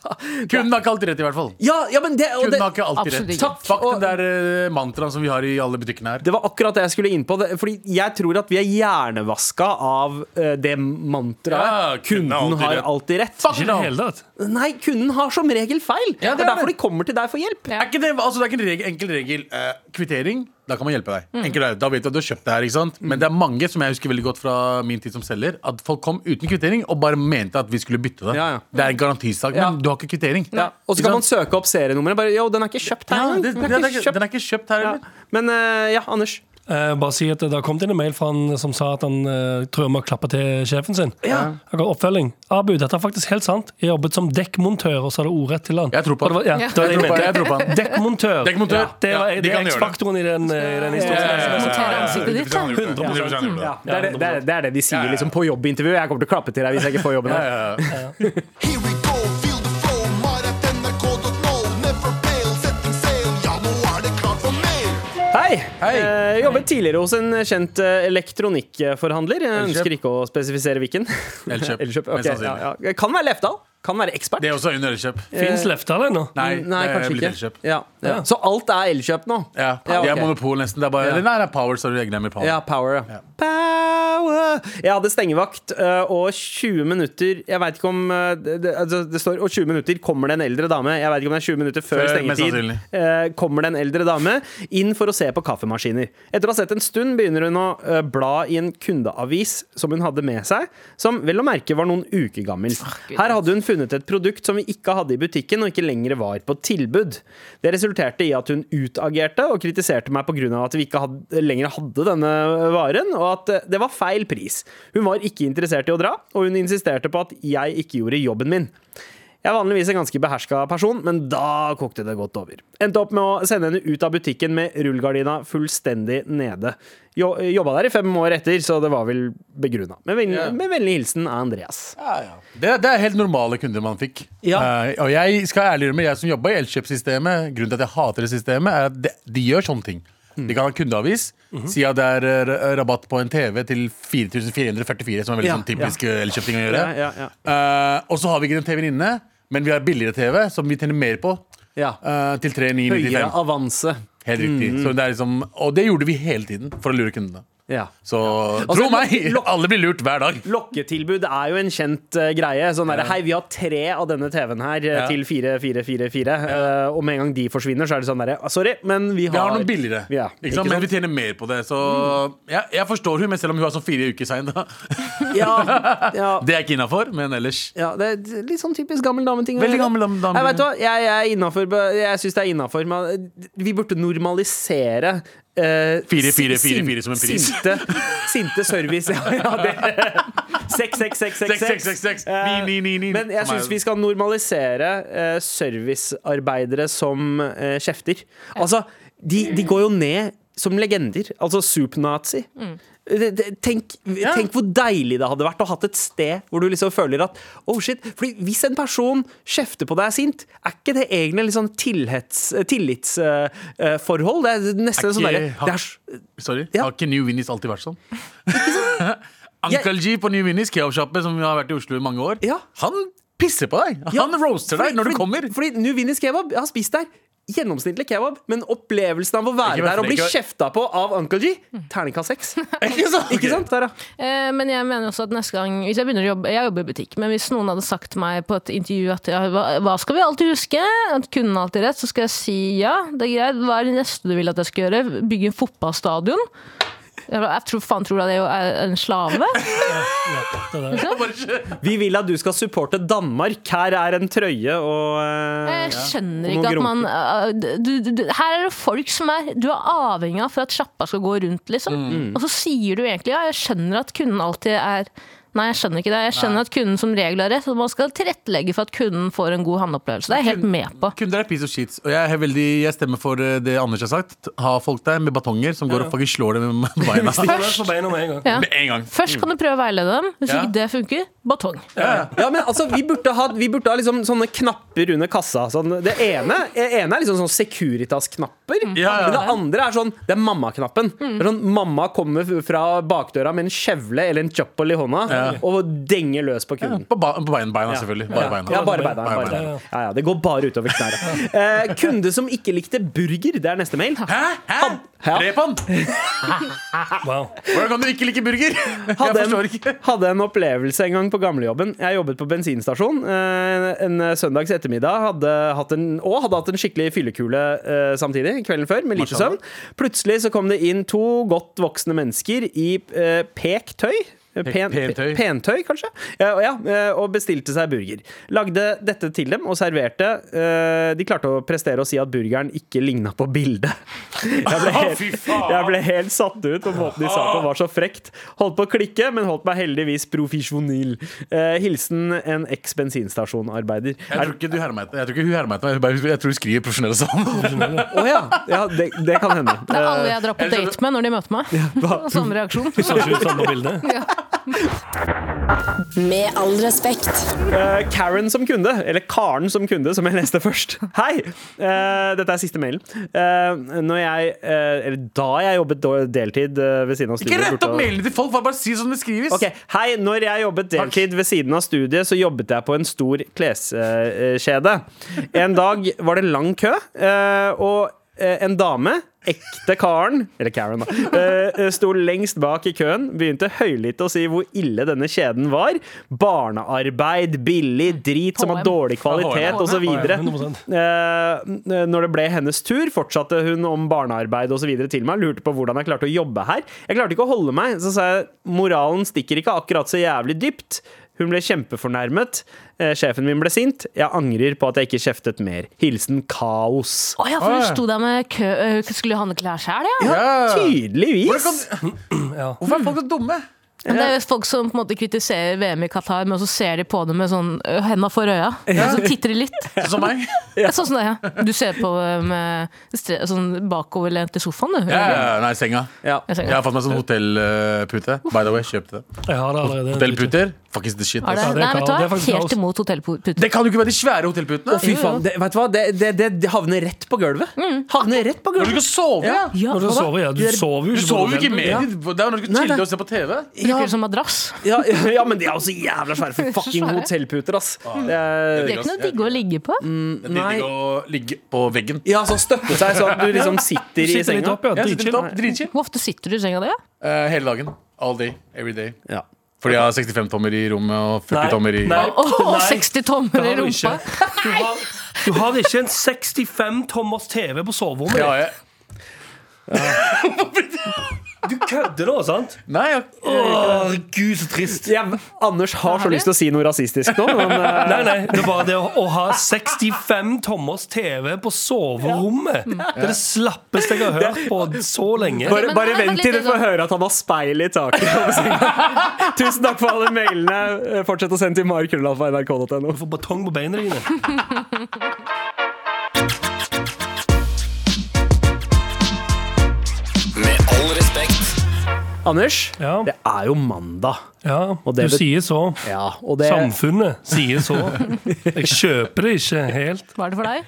D: Kunden har ikke alltid rett, i hvert fall.
B: Ja, ja, men det, og det
D: Kunden har ikke alltid
E: Absolutt
D: rett.
E: ikke.
D: Takk, Fuck den der eh, mantraen som vi har i alle butikkene her.
B: Det var akkurat det jeg skulle inn på. det- Fordi jeg tror at vi er hjernevaska av eh, det
D: Ja,
B: mantraet.
D: kunden har
B: kunden
D: alltid
B: har
D: rett.
B: alltid rett.
D: Fuck
C: Ikke i det
D: no.
C: hele tatt.
B: Nei, kunden har som regel feil.
D: Ja, det
B: det er
D: er
B: derfor
D: det.
B: de kommer til deg for hjelp.
D: Er ikke det, altså det er ikke en regel, enkel regel. Eh, kvittering, da kan man hjelpe deg.
B: Mm.
D: Enkel, er det. da vet du at du har kjøpt det her. ikke sant? Men det er mange som jeg husker veldig godt fra min tid som selger, at folk kom uten kvittering og bare mente at vi skulle bytte det.
B: Ja, ja.
D: Det er en garantisak,
B: Ja.
D: men du har ikke kvittering.
B: Ja. Og så
D: Ikke
B: kan man
D: sant?
B: søke opp serienummeret. Bare, jo, den er ikke kjøpt her.
D: ja,
B: engang.
D: det, det,
B: den er ikke
D: er ikke-
B: kjøpt.
D: Den er ikke kjøpt her
B: Ja.
D: heller.
B: Men eh, ja, Anders.
C: Eh, bare si at det har kommet inn en mail fra han som sa at han eh, tror jeg må klappe til sjefen sin.
B: Ja.
C: Han ga oppfølging. Abu, dette er faktisk helt sant. Jeg jobbet som dekkmontør, og så er det ordrett til han.
D: Jeg tror på
C: Og det. Var, ja,
E: Ja.
C: det var det jeg mente.
D: Jeg tror på- jeg tror på han.
C: Dekkmontør.
D: Dekkmontør.
C: Ja. Det, var,
D: Ja, de
C: det er
D: kan gjøre det.
C: X-faktoren i den, eh, i den historien.
E: Montere ansiktet ditt, ja.
D: Ja, ja, ja.
B: Ja, det, er det, det, er, det er det de sier
D: ja.
B: liksom, på jobbintervju. Jeg kommer til å klappe til deg hvis jeg ikke får jobben. her
J: Here we go, feel the flow, mar at nrk.no. Never fail, setting sail, ja, nå er det klart for mer.
B: Hei!
D: Hei.
B: Eh, jobbet tidligere hos en kjent eh, elektronikkforhandler. Jeg
D: Elkjøp.
B: ønsker ikke å spesifisere hvilken.
D: Elkjøp,
B: Elkjøp.
D: mest
B: ok,
D: sannsynlig.
B: ja, ja. Kan være Lefdal. Kan være ekspert.
D: Det er også under ølkjøp.
C: Fins Lefdal ennå?
D: Nei,
B: Nei,
D: det er
B: kanskje
D: blitt
B: ikke.
D: elkjøp.
B: Ja, ja. Så alt er Elkjøp nå?
D: Ja,
B: Ja,
D: De
B: ok.
D: er monopol, nesten. Det er bare,
B: Ja.
D: Eller nei, det er Power, så du egner med Power.
B: Ja, Power. Ja. Power! Jeg hadde stengevakt, eh, og 20 minutter Jeg vet ikke om eh, det, det- altså, det står Og 20 minutter kommer det en eldre dame. Jeg vet ikke om det er 20 minutter før
D: Før, mest
B: stengetid. eh, Kommer det en eldre dame inn for å se på kaffemaskiner. Etter å ha sett en stund begynner hun å eh, bla i en kundeavis som hun hadde med seg, som vel å merke var noen uker gammel. Her hadde hun funnet et produkt som vi ikke hadde i butikken, og ikke lenger var på tilbud. Det resulterte i at hun utagerte og kritiserte meg pga. at vi ikke hadde, lenger hadde denne varen, og at eh, det var feil pris. Hun var ikke interessert i å dra, og hun insisterte på at jeg ikke gjorde jobben min. Jeg er vanligvis en ganske beherska person, men da kokte det godt over. Endte opp med å sende henne ut av butikken med rullgardina fullstendig nede. Jo, jobba der i fem år etter, så det var vel begrunna. Med, ven- med vennlig hilsen er Andreas.
D: Det, det er helt normale kunder man fikk.
B: Ja.
D: Eh, og jeg skal ærlig innrømme, jeg som jobba i Elkjøp-systemet, grunnen til at jeg hater det systemet, er at de, de gjør sånne ting.
B: Mm.
D: De kan ha kundeavis,
B: Mhm.
D: si at det er eh, ra- rabatt på en TV til 4444, som er veldig
B: Ja,
D: sånn typisk eh, Elkjøp-ting å gjøre.
B: Ja, ja, ja.
D: Eh, og så har vi ikke den TV-en inne, men vi har billigere TV, som vi tjener mer på.
B: Ja.
D: eh, til
B: Høyere
D: 3995.
B: avanse.
D: Helt riktig.
B: Mm.
D: Så det er liksom, og det gjorde vi hele tiden for å lure kundene.
B: Ja.
D: Så
B: Altså,
D: tro meg,
B: lokk-
D: alle blir lurt hver dag.
B: Lokketilbud er jo en kjent eh, greie. Sånn der, Hei, vi har tre av denne TV-en her eh,
D: Ja.
B: til 4444. eh, og med en gang de forsvinner, så er det sånn derre Sorry, men vi har
D: Vi har noe billigere,
B: Ja,
D: ikke sant? men
B: sant?
D: vi tjener mer på det. Så jeg, jeg forstår hun, men selv om hun er sånn fire uker sein, da.
B: Ja, ja.
D: Det er ikke innafor, men ellers.
B: Ja, det er litt sånn typisk gammel dameting. å
D: Veldig
B: gjøre.
D: gammel dam- dame-
B: Jeg vet hva, jeg, jeg er innafor. Jeg syns det er innafor. men eh, Vi burde normalisere eh,
D: Fire,
B: sin-
D: fire, fire,
B: sin-
D: fire som en pris.
B: Sinte, sinte service. Ja, ja, det. Seks, seks, seks, seks,
D: Seks, seks, seks, seks.
B: Eh,
D: Ni, ni, ni, ni.
B: Men jeg
D: Som er-
B: syns vi skal normalisere eh, servicearbeidere som eh, kjefter. Altså, de, de går jo ned som legender. Altså supernazi. Det- det- Tenk, tenk hvor deilig det hadde vært å hatt et sted hvor du liksom føler at Oh shit, fordi Hvis en person kjefter på deg er sint, er ikke det egentlig litt sånn tillitsforhold? det er nesten
D: Er
B: sånn
D: ikke-
B: derre
D: har-
B: det er s-
D: Sorry.
B: Ja.
D: Har ikke New Winnies alltid vært sånn? Uncle G på New Winnies, kebabsjappe som har vært i Oslo i mange år,
B: Ja.
D: han pisser på deg.
B: Ja,
D: han roaster deg når du
B: fordi-
D: kommer.
B: Fordi New Vinnies kebab, jeg har spist der Gjennomsnittlig kebab, men opplevelsen av å være
D: Ikke vær
B: der og bli
D: frekk, ja.
B: kjefta på av Uncle G Terningkast seks.
D: Ikke sant?
B: Ikke sant, Tara?
E: Eh, Men jeg mener også at neste gang Hvis jeg begynner å jobbe Jeg jobber i butikk, men hvis noen hadde sagt meg på et intervju at ja, hva, hva skal vi alltid huske? At kunden har alltid rett, så skal jeg si ja, det er greit. Hva er det neste du vil at jeg skal gjøre? Bygge en fotballstadion? Jeg bare, jeg tror, faen tror du at jeg er en slave?
B: Vi vil at du skal supporte Danmark. Her er en trøye og eh,
E: Jeg skjønner
B: Og noen
E: ikke at man eh, du, du, du, Her er det folk som er Du er avhengig av for at sjappa skal gå rundt, liksom. Og så sier du egentlig ja, jeg skjønner at kunden alltid er Nei, jeg skjønner ikke det. Jeg skjønner at kunden som regel har rett, og man skal tilrettelegge for at kunden får en god handleopplevelse. Det er jeg helt med på.
D: Kunder er piece of shit. Og jeg, er veldig, jeg stemmer for eh, det Anders har sagt. Ha folk der med batonger som går og faktisk slår dem med beina.
C: På beina med en gang.
E: Ja.
D: Med en gang.
E: Først kan du prøve å veilede dem. Hvis
D: Ja.
E: ikke det funker, batong.
B: Ja, men altså, vi burde ha, vi burde ha liksom sånne knapper under kassa. Sånn, det ene, det ene er liksom sånn Securitas-knapper.
D: Mm.
E: Ja, ja.
B: Men det andre er sånn Det er mamma-knappen. Det er Sånn, mamma kommer fra bakdøra med en kjevle eller en chopple i hånda
D: Ja.
B: og denger løs på kunden.
D: På, ba på bein- beina, selvfølgelig. Bare
B: ja.
D: beina.
B: Ja, bare beina.
D: Bare
B: Bare
D: beina.
B: beina. Ja, ja, det går bare utover knærne. Eh, kunde som ikke likte burger, det er neste mail. Hæ? Hæ?
D: Drep han!
C: Wow.
D: Hvordan kan du ikke like burger? Jeg
B: hadde
D: forstår ikke.
B: en, hadde en opplevelse en gang på gamlejobben. Jeg jobbet på bensinstasjon eh, en søndags ettermiddag hadde hatt en, og hadde hatt en skikkelig fyllekule eh, samtidig, kvelden før, med lite søvn. Plutselig så kom det inn to godt voksne mennesker i eh, pektøy. Pen,
D: pentøy.
B: pentøy, kanskje. Ja, og ja, eh, og bestilte seg burger. Lagde dette til dem og serverte. eh, De klarte å prestere og si at burgeren ikke ligna på bildet. Jeg ble helt,
C: Fy faen!
B: jeg ble helt satt ut på måten de sa på var så frekt. Holdt på å klikke, men holdt meg heldigvis profesjonell. Eh, hilsen en eks-bensinstasjonarbeider.
D: Jeg tror ikke du hermet Jeg tror ikke hun hermet meg. Jeg bare- Jeg tror hun skriver profesjonelle sånn.
B: Å ja! ja det, det kan hende. Eh,
E: Det er alle jeg drar på
D: jeg skjønner-
E: date med når de møter meg. Samme reaksjon.
C: Så ikke ut sånn på bildet.
H: Med all respekt.
B: Eh, Karen som kunde, eller Karen som kunde, som jeg leste først. Hei! Eh, dette er siste mailen. Eh, når jeg, eh, eller da jeg jobbet da- deltid eh, ved siden av
D: Ikke
B: studiet
D: rett
B: burde-
D: opp mailene til folk, bare, bare si som det skrives.
B: Ok, Hei, når jeg jobbet deltid ved siden av studiet, så jobbet jeg på en stor kleskjede. En dag var det lang kø, eh, og eh, en dame Ekte karen, eller Karen, da, eh, sto lengst bak i køen. Begynte høylytt å si hvor ille denne kjeden var. Barnearbeid, billig drit som har
E: HM.
B: dårlig kvalitet, osv. Eh, når det ble hennes tur, fortsatte hun om barnearbeid og så videre til meg. Lurte på hvordan jeg klarte å jobbe her. Jeg klarte ikke å holde meg, så sa jeg moralen stikker ikke akkurat så jævlig dypt. Hun ble kjempefornærmet. Eh, sjefen min ble sint. Jeg angrer på at jeg ikke kjeftet mer. Hilsen kaos.
E: Å ja, for hun sto der med kø øh, Skulle handle klær sjøl, ja.
D: Ja. Hvordan
B: Tydeligvis.
D: kan- Hvorfor er folk så dumme?
E: Men det er jo folk som på en måte kritiserer VM i Qatar, men så ser de på det med sånn øh, henda for øya. Og så titter de litt.
D: Sånn som meg.
E: Det er Sånn som det er. Du ser på øh, med stre sånn bakoverlent i sofaen, du.
D: Ja, ja, ja, nei, senga.
B: Ja.
E: Jeg ser
D: Jeg
E: ikke.
D: har fått meg sånn hotellpute. By the way, kjøp det.
C: Jeg har det allerede.
D: Hotellputer, fuck is the
E: Er
D: shit.
E: det,
D: ass.
C: det er
E: nei,
C: kaos.
E: vet du
C: Det er
E: hva?
C: faktisk kaos.
E: Helt imot hotellputer.
D: Det kan jo ikke være de svære hotellputene.
B: Fy faen, det, vet du hva? Det, det, det, det havner rett på gulvet. Havner rett på
D: Når du
B: gulvet.
D: skal sove, ja.
E: Ja,
C: Når du
E: hva da?
C: sover, ja. Du sover jo
D: Du
C: ikke på
D: sover jo ikke
C: hotell.
D: mer.
C: Ja.
D: Det er jo når du skal
B: Nei,
D: chille
B: nei.
D: og se på TV.
E: Bruker det som madrass.
B: Ja, ja, men de er også jævla svære for fucking hotellputer, ass.
D: Ah.
B: Det er,
E: Det er ikke noe digg å ligge på.
D: Det er digg å ligge på veggen.
B: ja, sånn støtte seg, sånn at du liksom sitter i
C: Sitter litt
B: senga.
C: opp, ja.
D: Jeg
C: Dritchill.
D: sitter litt opp, dritchill.
E: Hvor ofte sitter du i senga di? ja?
D: Eh, hele dagen. All day. Every day.
B: Ja.
D: Fordi jeg har 65 tommer i rommet og 40 tommer i
C: Nei.
E: Å,
C: Nei.
E: 60 tommer i
C: Det har du
E: rumpa!
C: ikke. Du har, du har ikke en 65 tommers TV på soverommet.
D: Ja, jeg,
C: Du kødder nå, sant?
D: nei, jeg,
C: Åh, gud, så trist.
B: Jeg, Anders har så lyst til å si noe rasistisk nå, men eh,
C: Nei, nei, det var det å, å ha 65 tommers TV på soverommet. Det er det slappeste jeg har hørt på så lenge.
B: bare,
E: Men-
B: bare
E: men-
B: vent til du får høre at han har speil i taket. over senga. Tusen takk for alle mailene. Eh, Fortsett å sende til markrøllalfa.nrk.no.
C: Du får batong på beina dine.
J: Med all respekt.
B: Anders,
C: Ja.
B: det er jo mandag.
C: Ja,
B: Og
C: du
B: det bet-
C: sier så.
B: Ja, og det
C: Samfunnet sier så. Jeg kjøper det ikke helt.
E: Hva er det for deg?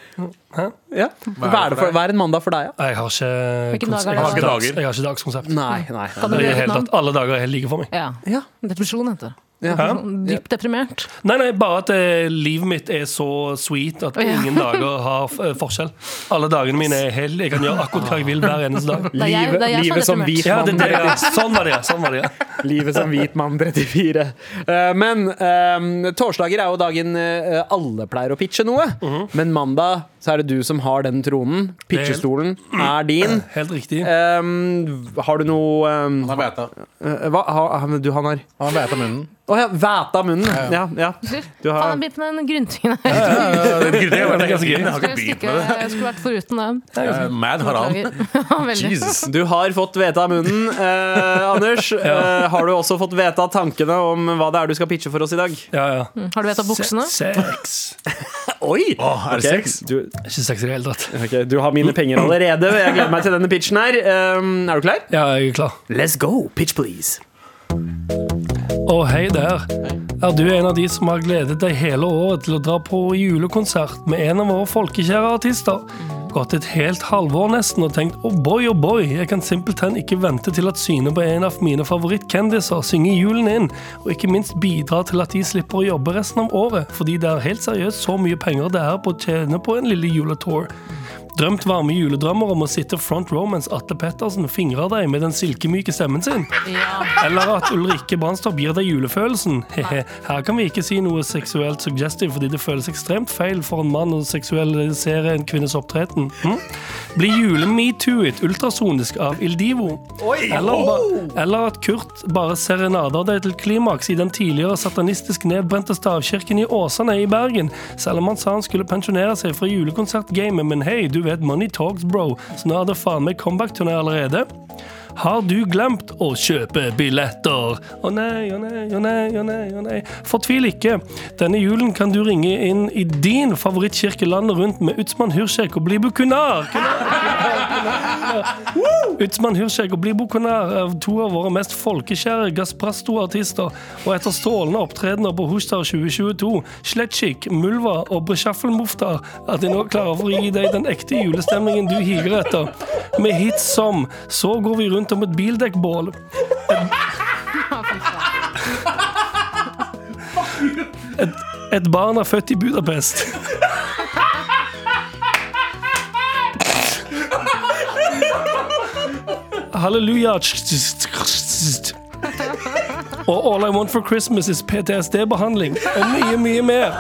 B: ja. Hva, er det for, hva er en mandag for deg, da?
C: Nei, Jeg har ikke
E: Hvilken dag
C: konsept.
E: er det?
C: Jeg har ikke
D: Dager.
C: dags- Jeg har ikke dagskonsept.
B: Nei, nei.
E: Kan du
C: I
E: gjøre
C: det
E: et
C: hele
E: navn?
C: tatt, alle dager er helt like for meg.
E: Ja.
B: Ja.
E: Depresjon heter det. Sånn
B: Ja.
E: Dypt deprimert.
C: Nei, nei, bare at eh, livet mitt er så sweet at
E: Ja.
C: ingen dager har f- eh, forskjell. Alle dagene mine er hell. Jeg kan gjøre akkurat hva jeg vil hver eneste dag.
E: Det er jeg,
B: Livet,
E: det er jeg sånn som er
B: livet som
E: deprimert.
B: hvit
C: Ja, det,
B: mann.
C: det, ja. Sånn var det, ja. Sånn var det, ja.
B: Livet som hvit mann 34. Eh, men eh, torsdager er jo dagen eh, alle pleier å pitche noe. Men mandag så er det du som har den tronen. Pitchestolen er din.
C: Helt riktig.
B: Eh, har du noe
D: han
B: eh,
D: har beita.
B: eh, Hva har har- du han har?
D: Han har beita munnen.
B: Å ja, væta munnen. Ja, ja. Du har-
E: Faen, jeg begynte med den grunntingen her.
D: det er gøy, men det er ganske gøy. Jeg har ikke
E: Jeg
D: begynt
E: skulle,
D: med det.
E: jeg skulle vært foruten den.
D: Eh, Mad Haran.
E: Veldig.
D: Jesus.
B: Du har fått vete av munnen, eh, Anders. Eh, har du også fått vete av tankene om hva det er du skal pitche for oss i dag?
C: Ja, ja.
E: Har du vett av buksene?
C: Se- Sex.
B: Oi!
D: Åh, er det
B: Ok,
D: sex?
B: Du,
C: Ikke sex i det hele tatt.
B: ok, du har mine penger allerede. Jeg gleder meg til denne pitchen her. Eh, er du klar? Oh,
C: Ja, jeg er klar.
B: Let's go, pitch please
C: Å, hei der. Er du en av de som har gledet deg hele året til å dra på julekonsert med en av våre folkekjære artister? Gått et helt halvår nesten og tenkt oh boy, oh boy, jeg kan simpelthen ikke vente til at synet på en av mine favorittkendiser synger julen inn, og ikke minst bidra til at de slipper å jobbe resten av året, fordi det er helt seriøst så mye penger det er på å tjene på en lille juletour. Drømt varme juledrømmer om å sitte front row mens Atle Pettersen fingrer deg med den silkemyke stemmen sin? Eller at Ulrikke Brandstorp gir deg julefølelsen? Hehe, her kan vi ikke si noe seksuelt suggestive fordi det føles ekstremt feil for en mann å seksualisere en kvinnes opptreten. Hm? Bli jule-metoo-et ultrasonisk av Ildivo.
J: Oi!
C: Eller, ba eller at Kurt bare serenader deg til klimaks i den tidligere satanistisk nedbrente stavkirken i Åsane i Bergen, selv om han sa han skulle pensjonere seg fra julekonsertgamet, men hei, du vet money talks, bro, så nå er det faen meg comeback-turné allerede. Har du glemt å kjøpe billetter? Å nei, å nei, å nei, å nei, å nei. Fortvil ikke. Denne julen kan du ringe inn i din favorittkirke landet rundt med Utsmann Hyrsek og bli bukunar. Utsmann Hyrsek og Blibo Konær er to av våre mest folkekjære Gasprasto-artister, og etter strålende opptredener på Hostar 2022, Sletchik, Mulva og Bresjaffelmoftar, at de nå klarer for å gi deg den ekte julestemningen du higer etter. Med hits som Så går vi rundt om et bildekkbål. Et, et barn er født i Budapest. Halleluja. Og All I Want for Christmas is PTSD-behandling. Og mye, mye mer.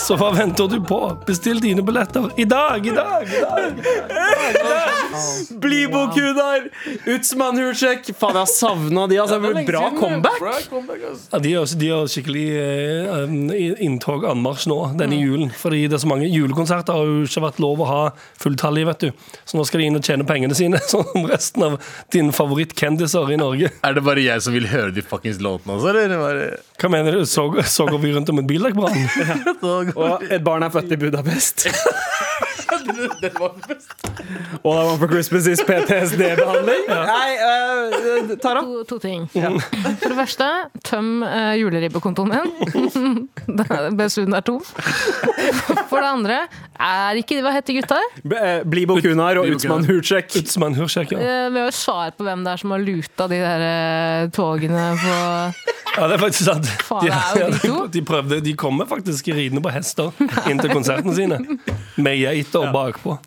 C: Så hva venter du på? Bestill dine billetter i dag, i dag! i dag, i dag.
B: Bli Bokunar! Utsmann Hursek! Faen, jeg har savna de. Altså. Bra comeback!
C: Ja, de gjør, de gjør skikkelig eh, um, i- inntog anmarsj nå denne julen. Fordi det er så mange julekonserter har jo ikke vært lov å ha fulltallige, vet du. Så nå skal de inn og tjene pengene sine, som resten av dine favorittkendiser i Norge.
D: Er det bare jeg som vil høre de fuckings låtene også, eller? Bare...
C: Hva mener du? Så, så går vi rundt om en bildekkbrann?
B: Og et barn er født i Budapest.
D: Den var best.
B: All I want for Christmas is PTSD-behandling. Nei, eh, Tara?
E: To, to ting. For det første, tøm eh, juleribbekontoen min. Dessuten er tom. For det andre, er ikke Hva heter gutta?
B: B- eh, Bli Bokunar og
D: Bli
B: Utsmann
D: Bokunar.
B: Hursek.
C: Utsmann Hursek, ja.
E: Eh, Vi har jo svar på hvem det er som har luta de der eh, togene på
C: Ja, det er faktisk sant.
E: Faen, det er jo de to.
C: de prøvde, de kommer faktisk ridende på hester inn til konsertene sine. Med geiter bakpå.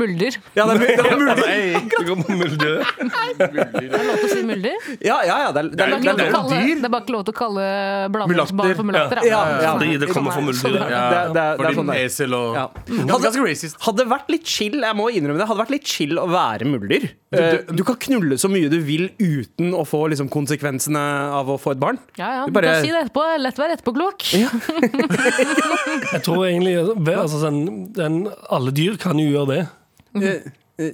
E: Mulder.
B: Ja, det er, mu- det er mulig.
C: Det går på muldyr.
E: Lov til å si mulder?
B: Ja, ja, ja, det er, det
E: Det
B: er,
E: er bare ikke lov
B: det er
E: til å kalle,
D: dyr.
E: det er bare ikke lov til å kalle blandingsbarn for mulatter.
B: Ja, ja.
C: Fordi det kommer fra muldyr.
D: Ja,
B: Det er- det er- det er
D: fordi
B: sånn det er.
D: esel og Mm.
B: Ja.
D: Ganske, ganske racist.
B: Hadde vært litt chill, jeg må innrømme det Hadde vært litt chill å være mulder. Eh, Du kan knulle så mye du vil uten å få liksom, konsekvensene av å få et barn.
E: Ja, ja.
B: Du
E: Du
B: bare-
E: kan si det etterpå. Lett å være etterpåklok.
C: Jeg tror egentlig vel, altså, sånn, den, Alle dyr kan jo gjøre det.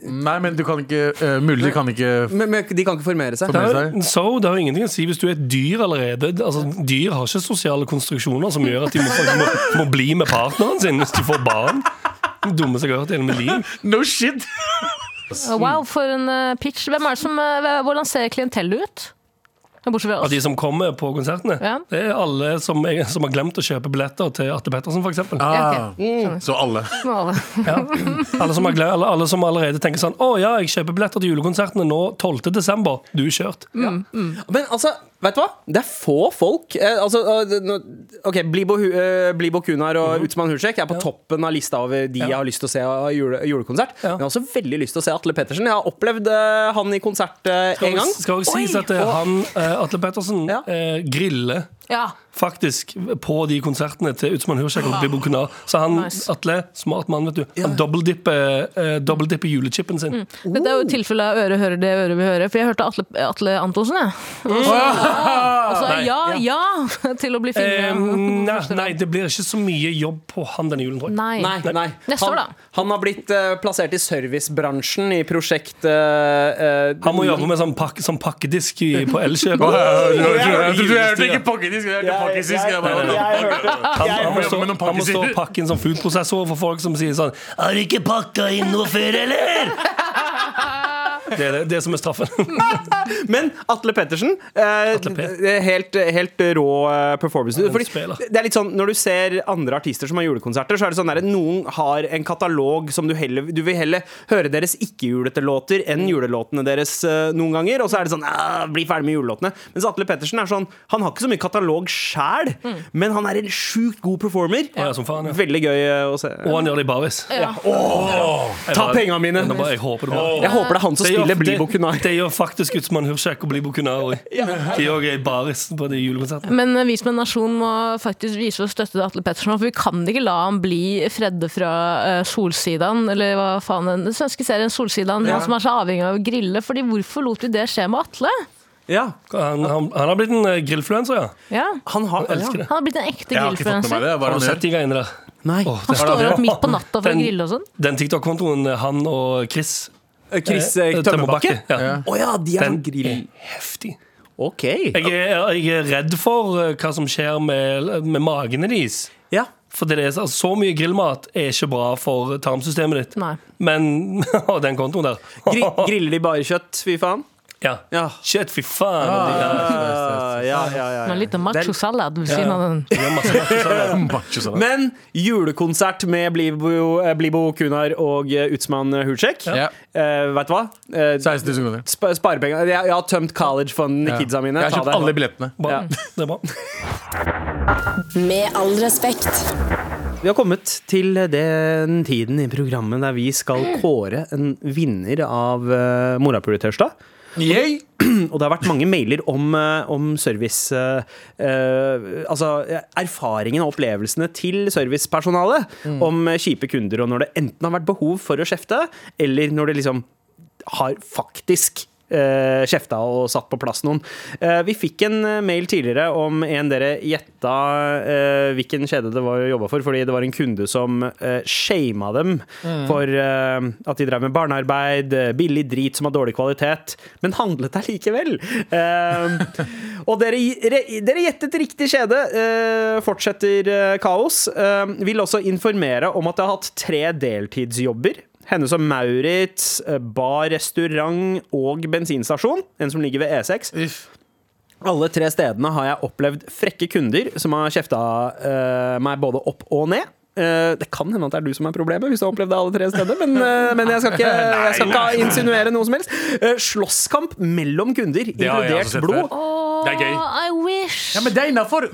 D: Nei, men du kan ikke uh, Mulder kan ikke
B: Men, men de kan ikke formere seg.
C: Det
D: Formere
C: er, så, det har ingenting å si hvis du er et dyr allerede. Altså, dyr har ikke sosiale konstruksjoner som gjør at de må, må, må bli med partneren sin hvis de får barn. Den dummeste jeg har hørt i hele mitt liv.
D: No shit!
E: Wow,
C: Mm.
E: for en eh, pitch. Hvem er det som, eh, hvordan ser klientellet ut? Bortsett fra
C: Av de
E: oss.
C: som kommer på konsertene.
E: Ja.
C: Det er alle som, er, som har glemt å kjøpe billetter til Atte Pettersen, f.eks.
D: Ah,
E: ok.
D: Så alle.
E: Alle.
C: Alle, som har gle- alle, alle som allerede tenker sånn Å ja, jeg kjøper billetter til julekonsertene nå 12. desember. Du er kjørt.
E: Mm.
B: Men altså, vet du hva? Det er få folk. Eh, altså, eh, det- nå- ok, Blibo, Hu- eh, Blibo Kunar og Utsmann Hursek er på toppen av lista over de jeg har lyst til å se av jule, julekonsert. Men jeg har også veldig lyst til å se Atle Pettersen. Jeg har opplevd eh, han i konsert eh, en gang.
C: Skal også sies
B: Oi!
C: at eh,
B: Og-
C: han, eh, Atle Pettersen
B: Ja.
C: eh, griller
E: Ja.
C: faktisk på de konsertene til Utsmann Hursek og Bibbo Kunar. Så han
E: Nice.
C: Atle, smart mann, vet du. Han dobbeltdipper eh, dobbeltdipper julechipen
E: Mm.
C: sin.
E: Dette er jo et tilfelle av øre hører det øret vil høre, for jeg hørte Atle, Atle Antonsen, jeg. Og så
C: Ah,
E: altså, ja, ja til å bli
C: Eh, nei,
E: fingra.
C: nei, det blir ikke så mye jobb på han denne julen, tror jeg.
E: Nei.
B: Nei, nei.
E: Neste år, da.
B: Han, han har blitt eh, plassert i servicebransjen i prosjekt eh, eh,
C: Han må jobbe med sånn, pakke, sånn pakkedisk i, på Elkjøp.
D: Jeg hørte ikke pakkedisk. Jeg hørte pakkedisk. Jeg bare
C: Han, han, må
D: jeg
C: stå,
D: jobber med noen
C: han må stå og
D: pakkesider.
C: pakke inn som sånn, foodprosessor for folk som sier sånn Har du ikke pakka inn noe før, eller? Det er det, det som er straffen.
B: Men Atle Pettersen, eh, eh, helt, helt rå eh, performance. Fordi det er litt sånn, Når du ser andre artister som har julekonserter, så er det sånn der, noen har en katalog som du heller Du vil heller høre deres ikke-julete låter
C: Mm.
B: enn julelåtene deres eh, noen ganger. Og så er det sånn «Ah, Bli ferdig med julelåtene. Mens Atle Pettersen er sånn Han har ikke så mye katalog sjæl, men han er en sjukt god performer.
C: Mm. Ja, som faen, ja.
B: Veldig gøy eh, å se.
C: Og han gjør det i baris.
B: Ja. Åh, ta pengene mine!
C: Jeg, bare, jeg, håper, det
B: Jeg håper det er han som spiller Bli
C: Bokunar. Det gjør faktisk Utsman Hursek og Bli Bokunar òg. De òg er i baris på de julekonsertene.
E: Men eh, vi som en nasjon må faktisk vise vår støtte til Atle Pettersen. For vi kan ikke la han bli Fredde fra eh, Solsidan, eller hva faen den den svenske serien Solsidan,
C: Ja.
E: han som er så avhengig av å grille. Fordi hvorfor lot vi det skje med Atle?
C: Han, han, han har blitt en eh, grillfluencer, ja.
E: Ja.
B: Han har,
C: Jeg elsker det.
E: Han har blitt en ekte grillfluenser.
C: Har du sett de greiene der?
B: Nei.
E: Han står opp midt på natta for å
C: Den-
E: grille og sånn.
C: Den TikTok-kontoen eh, han og Chris
B: Eh, Chris, eh,
C: eh,
B: Tømmerbakke?
C: Ja.
B: Å ja, de er
C: Den
B: sånn grill-
C: er heftig.
B: Ok.
C: Jeg er, jeg er redd for eh, hva som skjer med, med magene deres.
B: Ja.
C: For det er, altså, så mye grillmat er ikke bra for tarmsystemet ditt.
E: Nei.
C: Men og den kontoen der
B: Gri griller de bare kjøtt, fy faen?
C: Ja. Shit, fy faen.
B: Ah, ja, ja, ja,
E: Med en liten machosalat sånn ved
C: Ja,
E: siden
C: ja.
E: av den.
C: Ja, masse machosalat.
B: Men julekonsert med Blibo, eh, Blibo Kunar og eh, Utsman Hursek.
D: Ja.
B: Eh, vet du hva? Eh,
D: 16 000 kroner.
B: spa- Sparepenger jeg, jeg har tømt collegefunden i kidsa mine.
D: Jeg har
B: Ta
D: kjøpt
B: det.
D: alle billettene.
C: Bra.
B: Ja.
C: Det er bra.
H: Med all respekt.
B: Vi har kommet til den tiden i programmet der vi skal kåre en vinner av uh, Morapuletørsdag.
D: Yay!
B: Og det har vært mange mailer om, eh, om service eh, eh, Altså eh, erfaringene og opplevelsene til servicepersonalet om eh, kjipe kunder, og når det enten har vært behov for å kjefte, eller når det liksom har faktisk eh, kjefta og satt på plass noen. Eh, vi fikk en eh, mail tidligere om en dere gjetta eh, hvilken kjede det var jobba for, fordi det var en kunde som eh, shama dem for eh, at de drev med barnearbeid, eh, billig drit som har dårlig kvalitet, men handlet der likevel. Eh, og dere, re- dere gjettet riktig kjede. Eh, fortsetter eh, kaos. Eh, vil også informere om at jeg har hatt tre deltidsjobber. Henne som Maurits, eh, bar, restaurant og bensinstasjon. En som ligger ved E E6.
D: Uff.
B: Alle tre stedene har jeg opplevd frekke kunder som har kjefta eh, meg både opp og ned. Eh, det kan hende at det er du som er problemet, hvis du har opplevd det alle tre steder. Men, eh, men jeg skal ikke, jeg skal ikke insinuere noe som helst. Eh, slåsskamp mellom kunder,
D: Det har jeg også
B: inkludert
D: sett
B: blod.
D: før.
E: Åh,
D: Det er gøy.
E: I wish!
D: Ja, men det er innafor!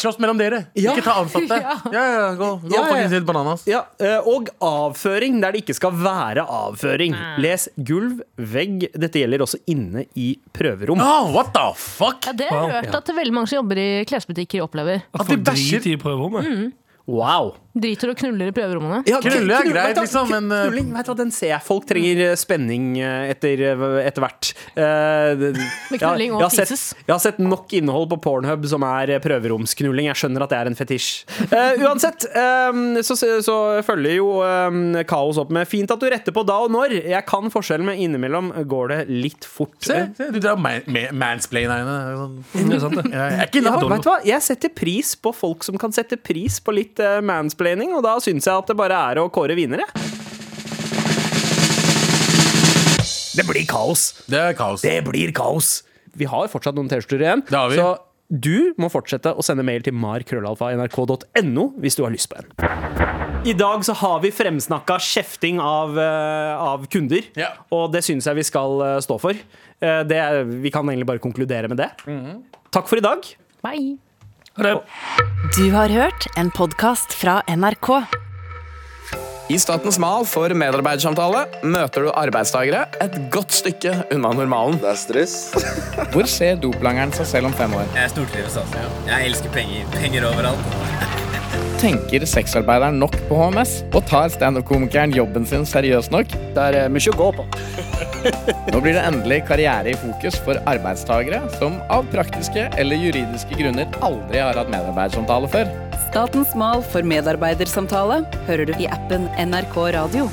D: Slåss mellom dere.
B: Ja.
D: Ikke ta ansatte. Ja, ja, ja, gå
B: Ja, ja,
D: gå
B: ja.
D: fuckings helt bananas.
B: Ja, eh, Og avføring der det ikke skal være avføring. Les gulv, vegg. Dette gjelder også inne i prøverom.
D: Oh, what the fuck?
E: Ja, det har jeg hørt at veldig mange som jobber i klesbutikker opplever.
C: At
D: de
C: folk
D: bæsjer.
C: driter i prøverommet.
B: Wow.
E: Driter og knuller i prøverommene.
B: Ja,
D: Knulle er
B: knull-
D: greit,
B: vet du hva,
D: liksom, men, eh,
B: Knulling, vet du hva, den ser jeg. Folk trenger eh, spenning eh, etter, eh, etter hvert. Eh, det-
E: Med
B: ja,
E: knulling
B: jeg
E: og
B: har sett-
E: pieces.
B: Jeg har sett nok innhold på Pornhub som er eh, prøveromsknulling. Jeg skjønner at det er en fetisj. Eh, uansett, eh, så, så følger jo eh, kaos opp med 'fint at du retter på da og når'. Jeg kan forskjellen, men innimellom går det litt fort.
D: Se, se, du drar man, man, mansplaina henne. Sånn.
C: Det er sant, det.
D: Jeg er ikke
B: Ja,
D: innafor.
B: vet du hva? Jeg setter pris på folk som kan sette pris på litt eh, mansplaining, og da syns jeg at det bare er å kåre vinnere. Det blir kaos.
D: Det er kaos.
B: Det blir kaos. Vi har fortsatt noen T-skjorter igjen,
D: Det har vi.
B: så du må fortsette å sende mail til markrøllalfa.nrk.no hvis du har lyst på en. I dag så har vi fremsnakka kjefting av, eh, av kunder,
D: Ja.
B: og det syns jeg vi skal eh, stå for. Eh, det, er- vi kan egentlig bare konkludere med det.
D: Mhm.
B: Takk for i dag.
E: Bye.
C: Ha det.
A: Du har hørt en podkast fra NRK.
K: I Statens Mal for medarbeidersamtale møter du arbeidstakere et godt stykke unna normalen. Det er stress. Hvor ser doplangeren seg selv om fem år?
L: Jeg stortrives, altså. Jeg elsker penger. Penger overalt.
K: Tenker sexarbeideren nok på HMS? Og tar standup-komikeren jobben sin seriøst nok? Det er eh, mye å gå på. Nå blir det endelig karriere i fokus for arbeidstakere som av praktiske eller juridiske grunner aldri har hatt medarbeidersamtale før.
H: Statens mal for medarbeidersamtale hører du i appen NRK Radio.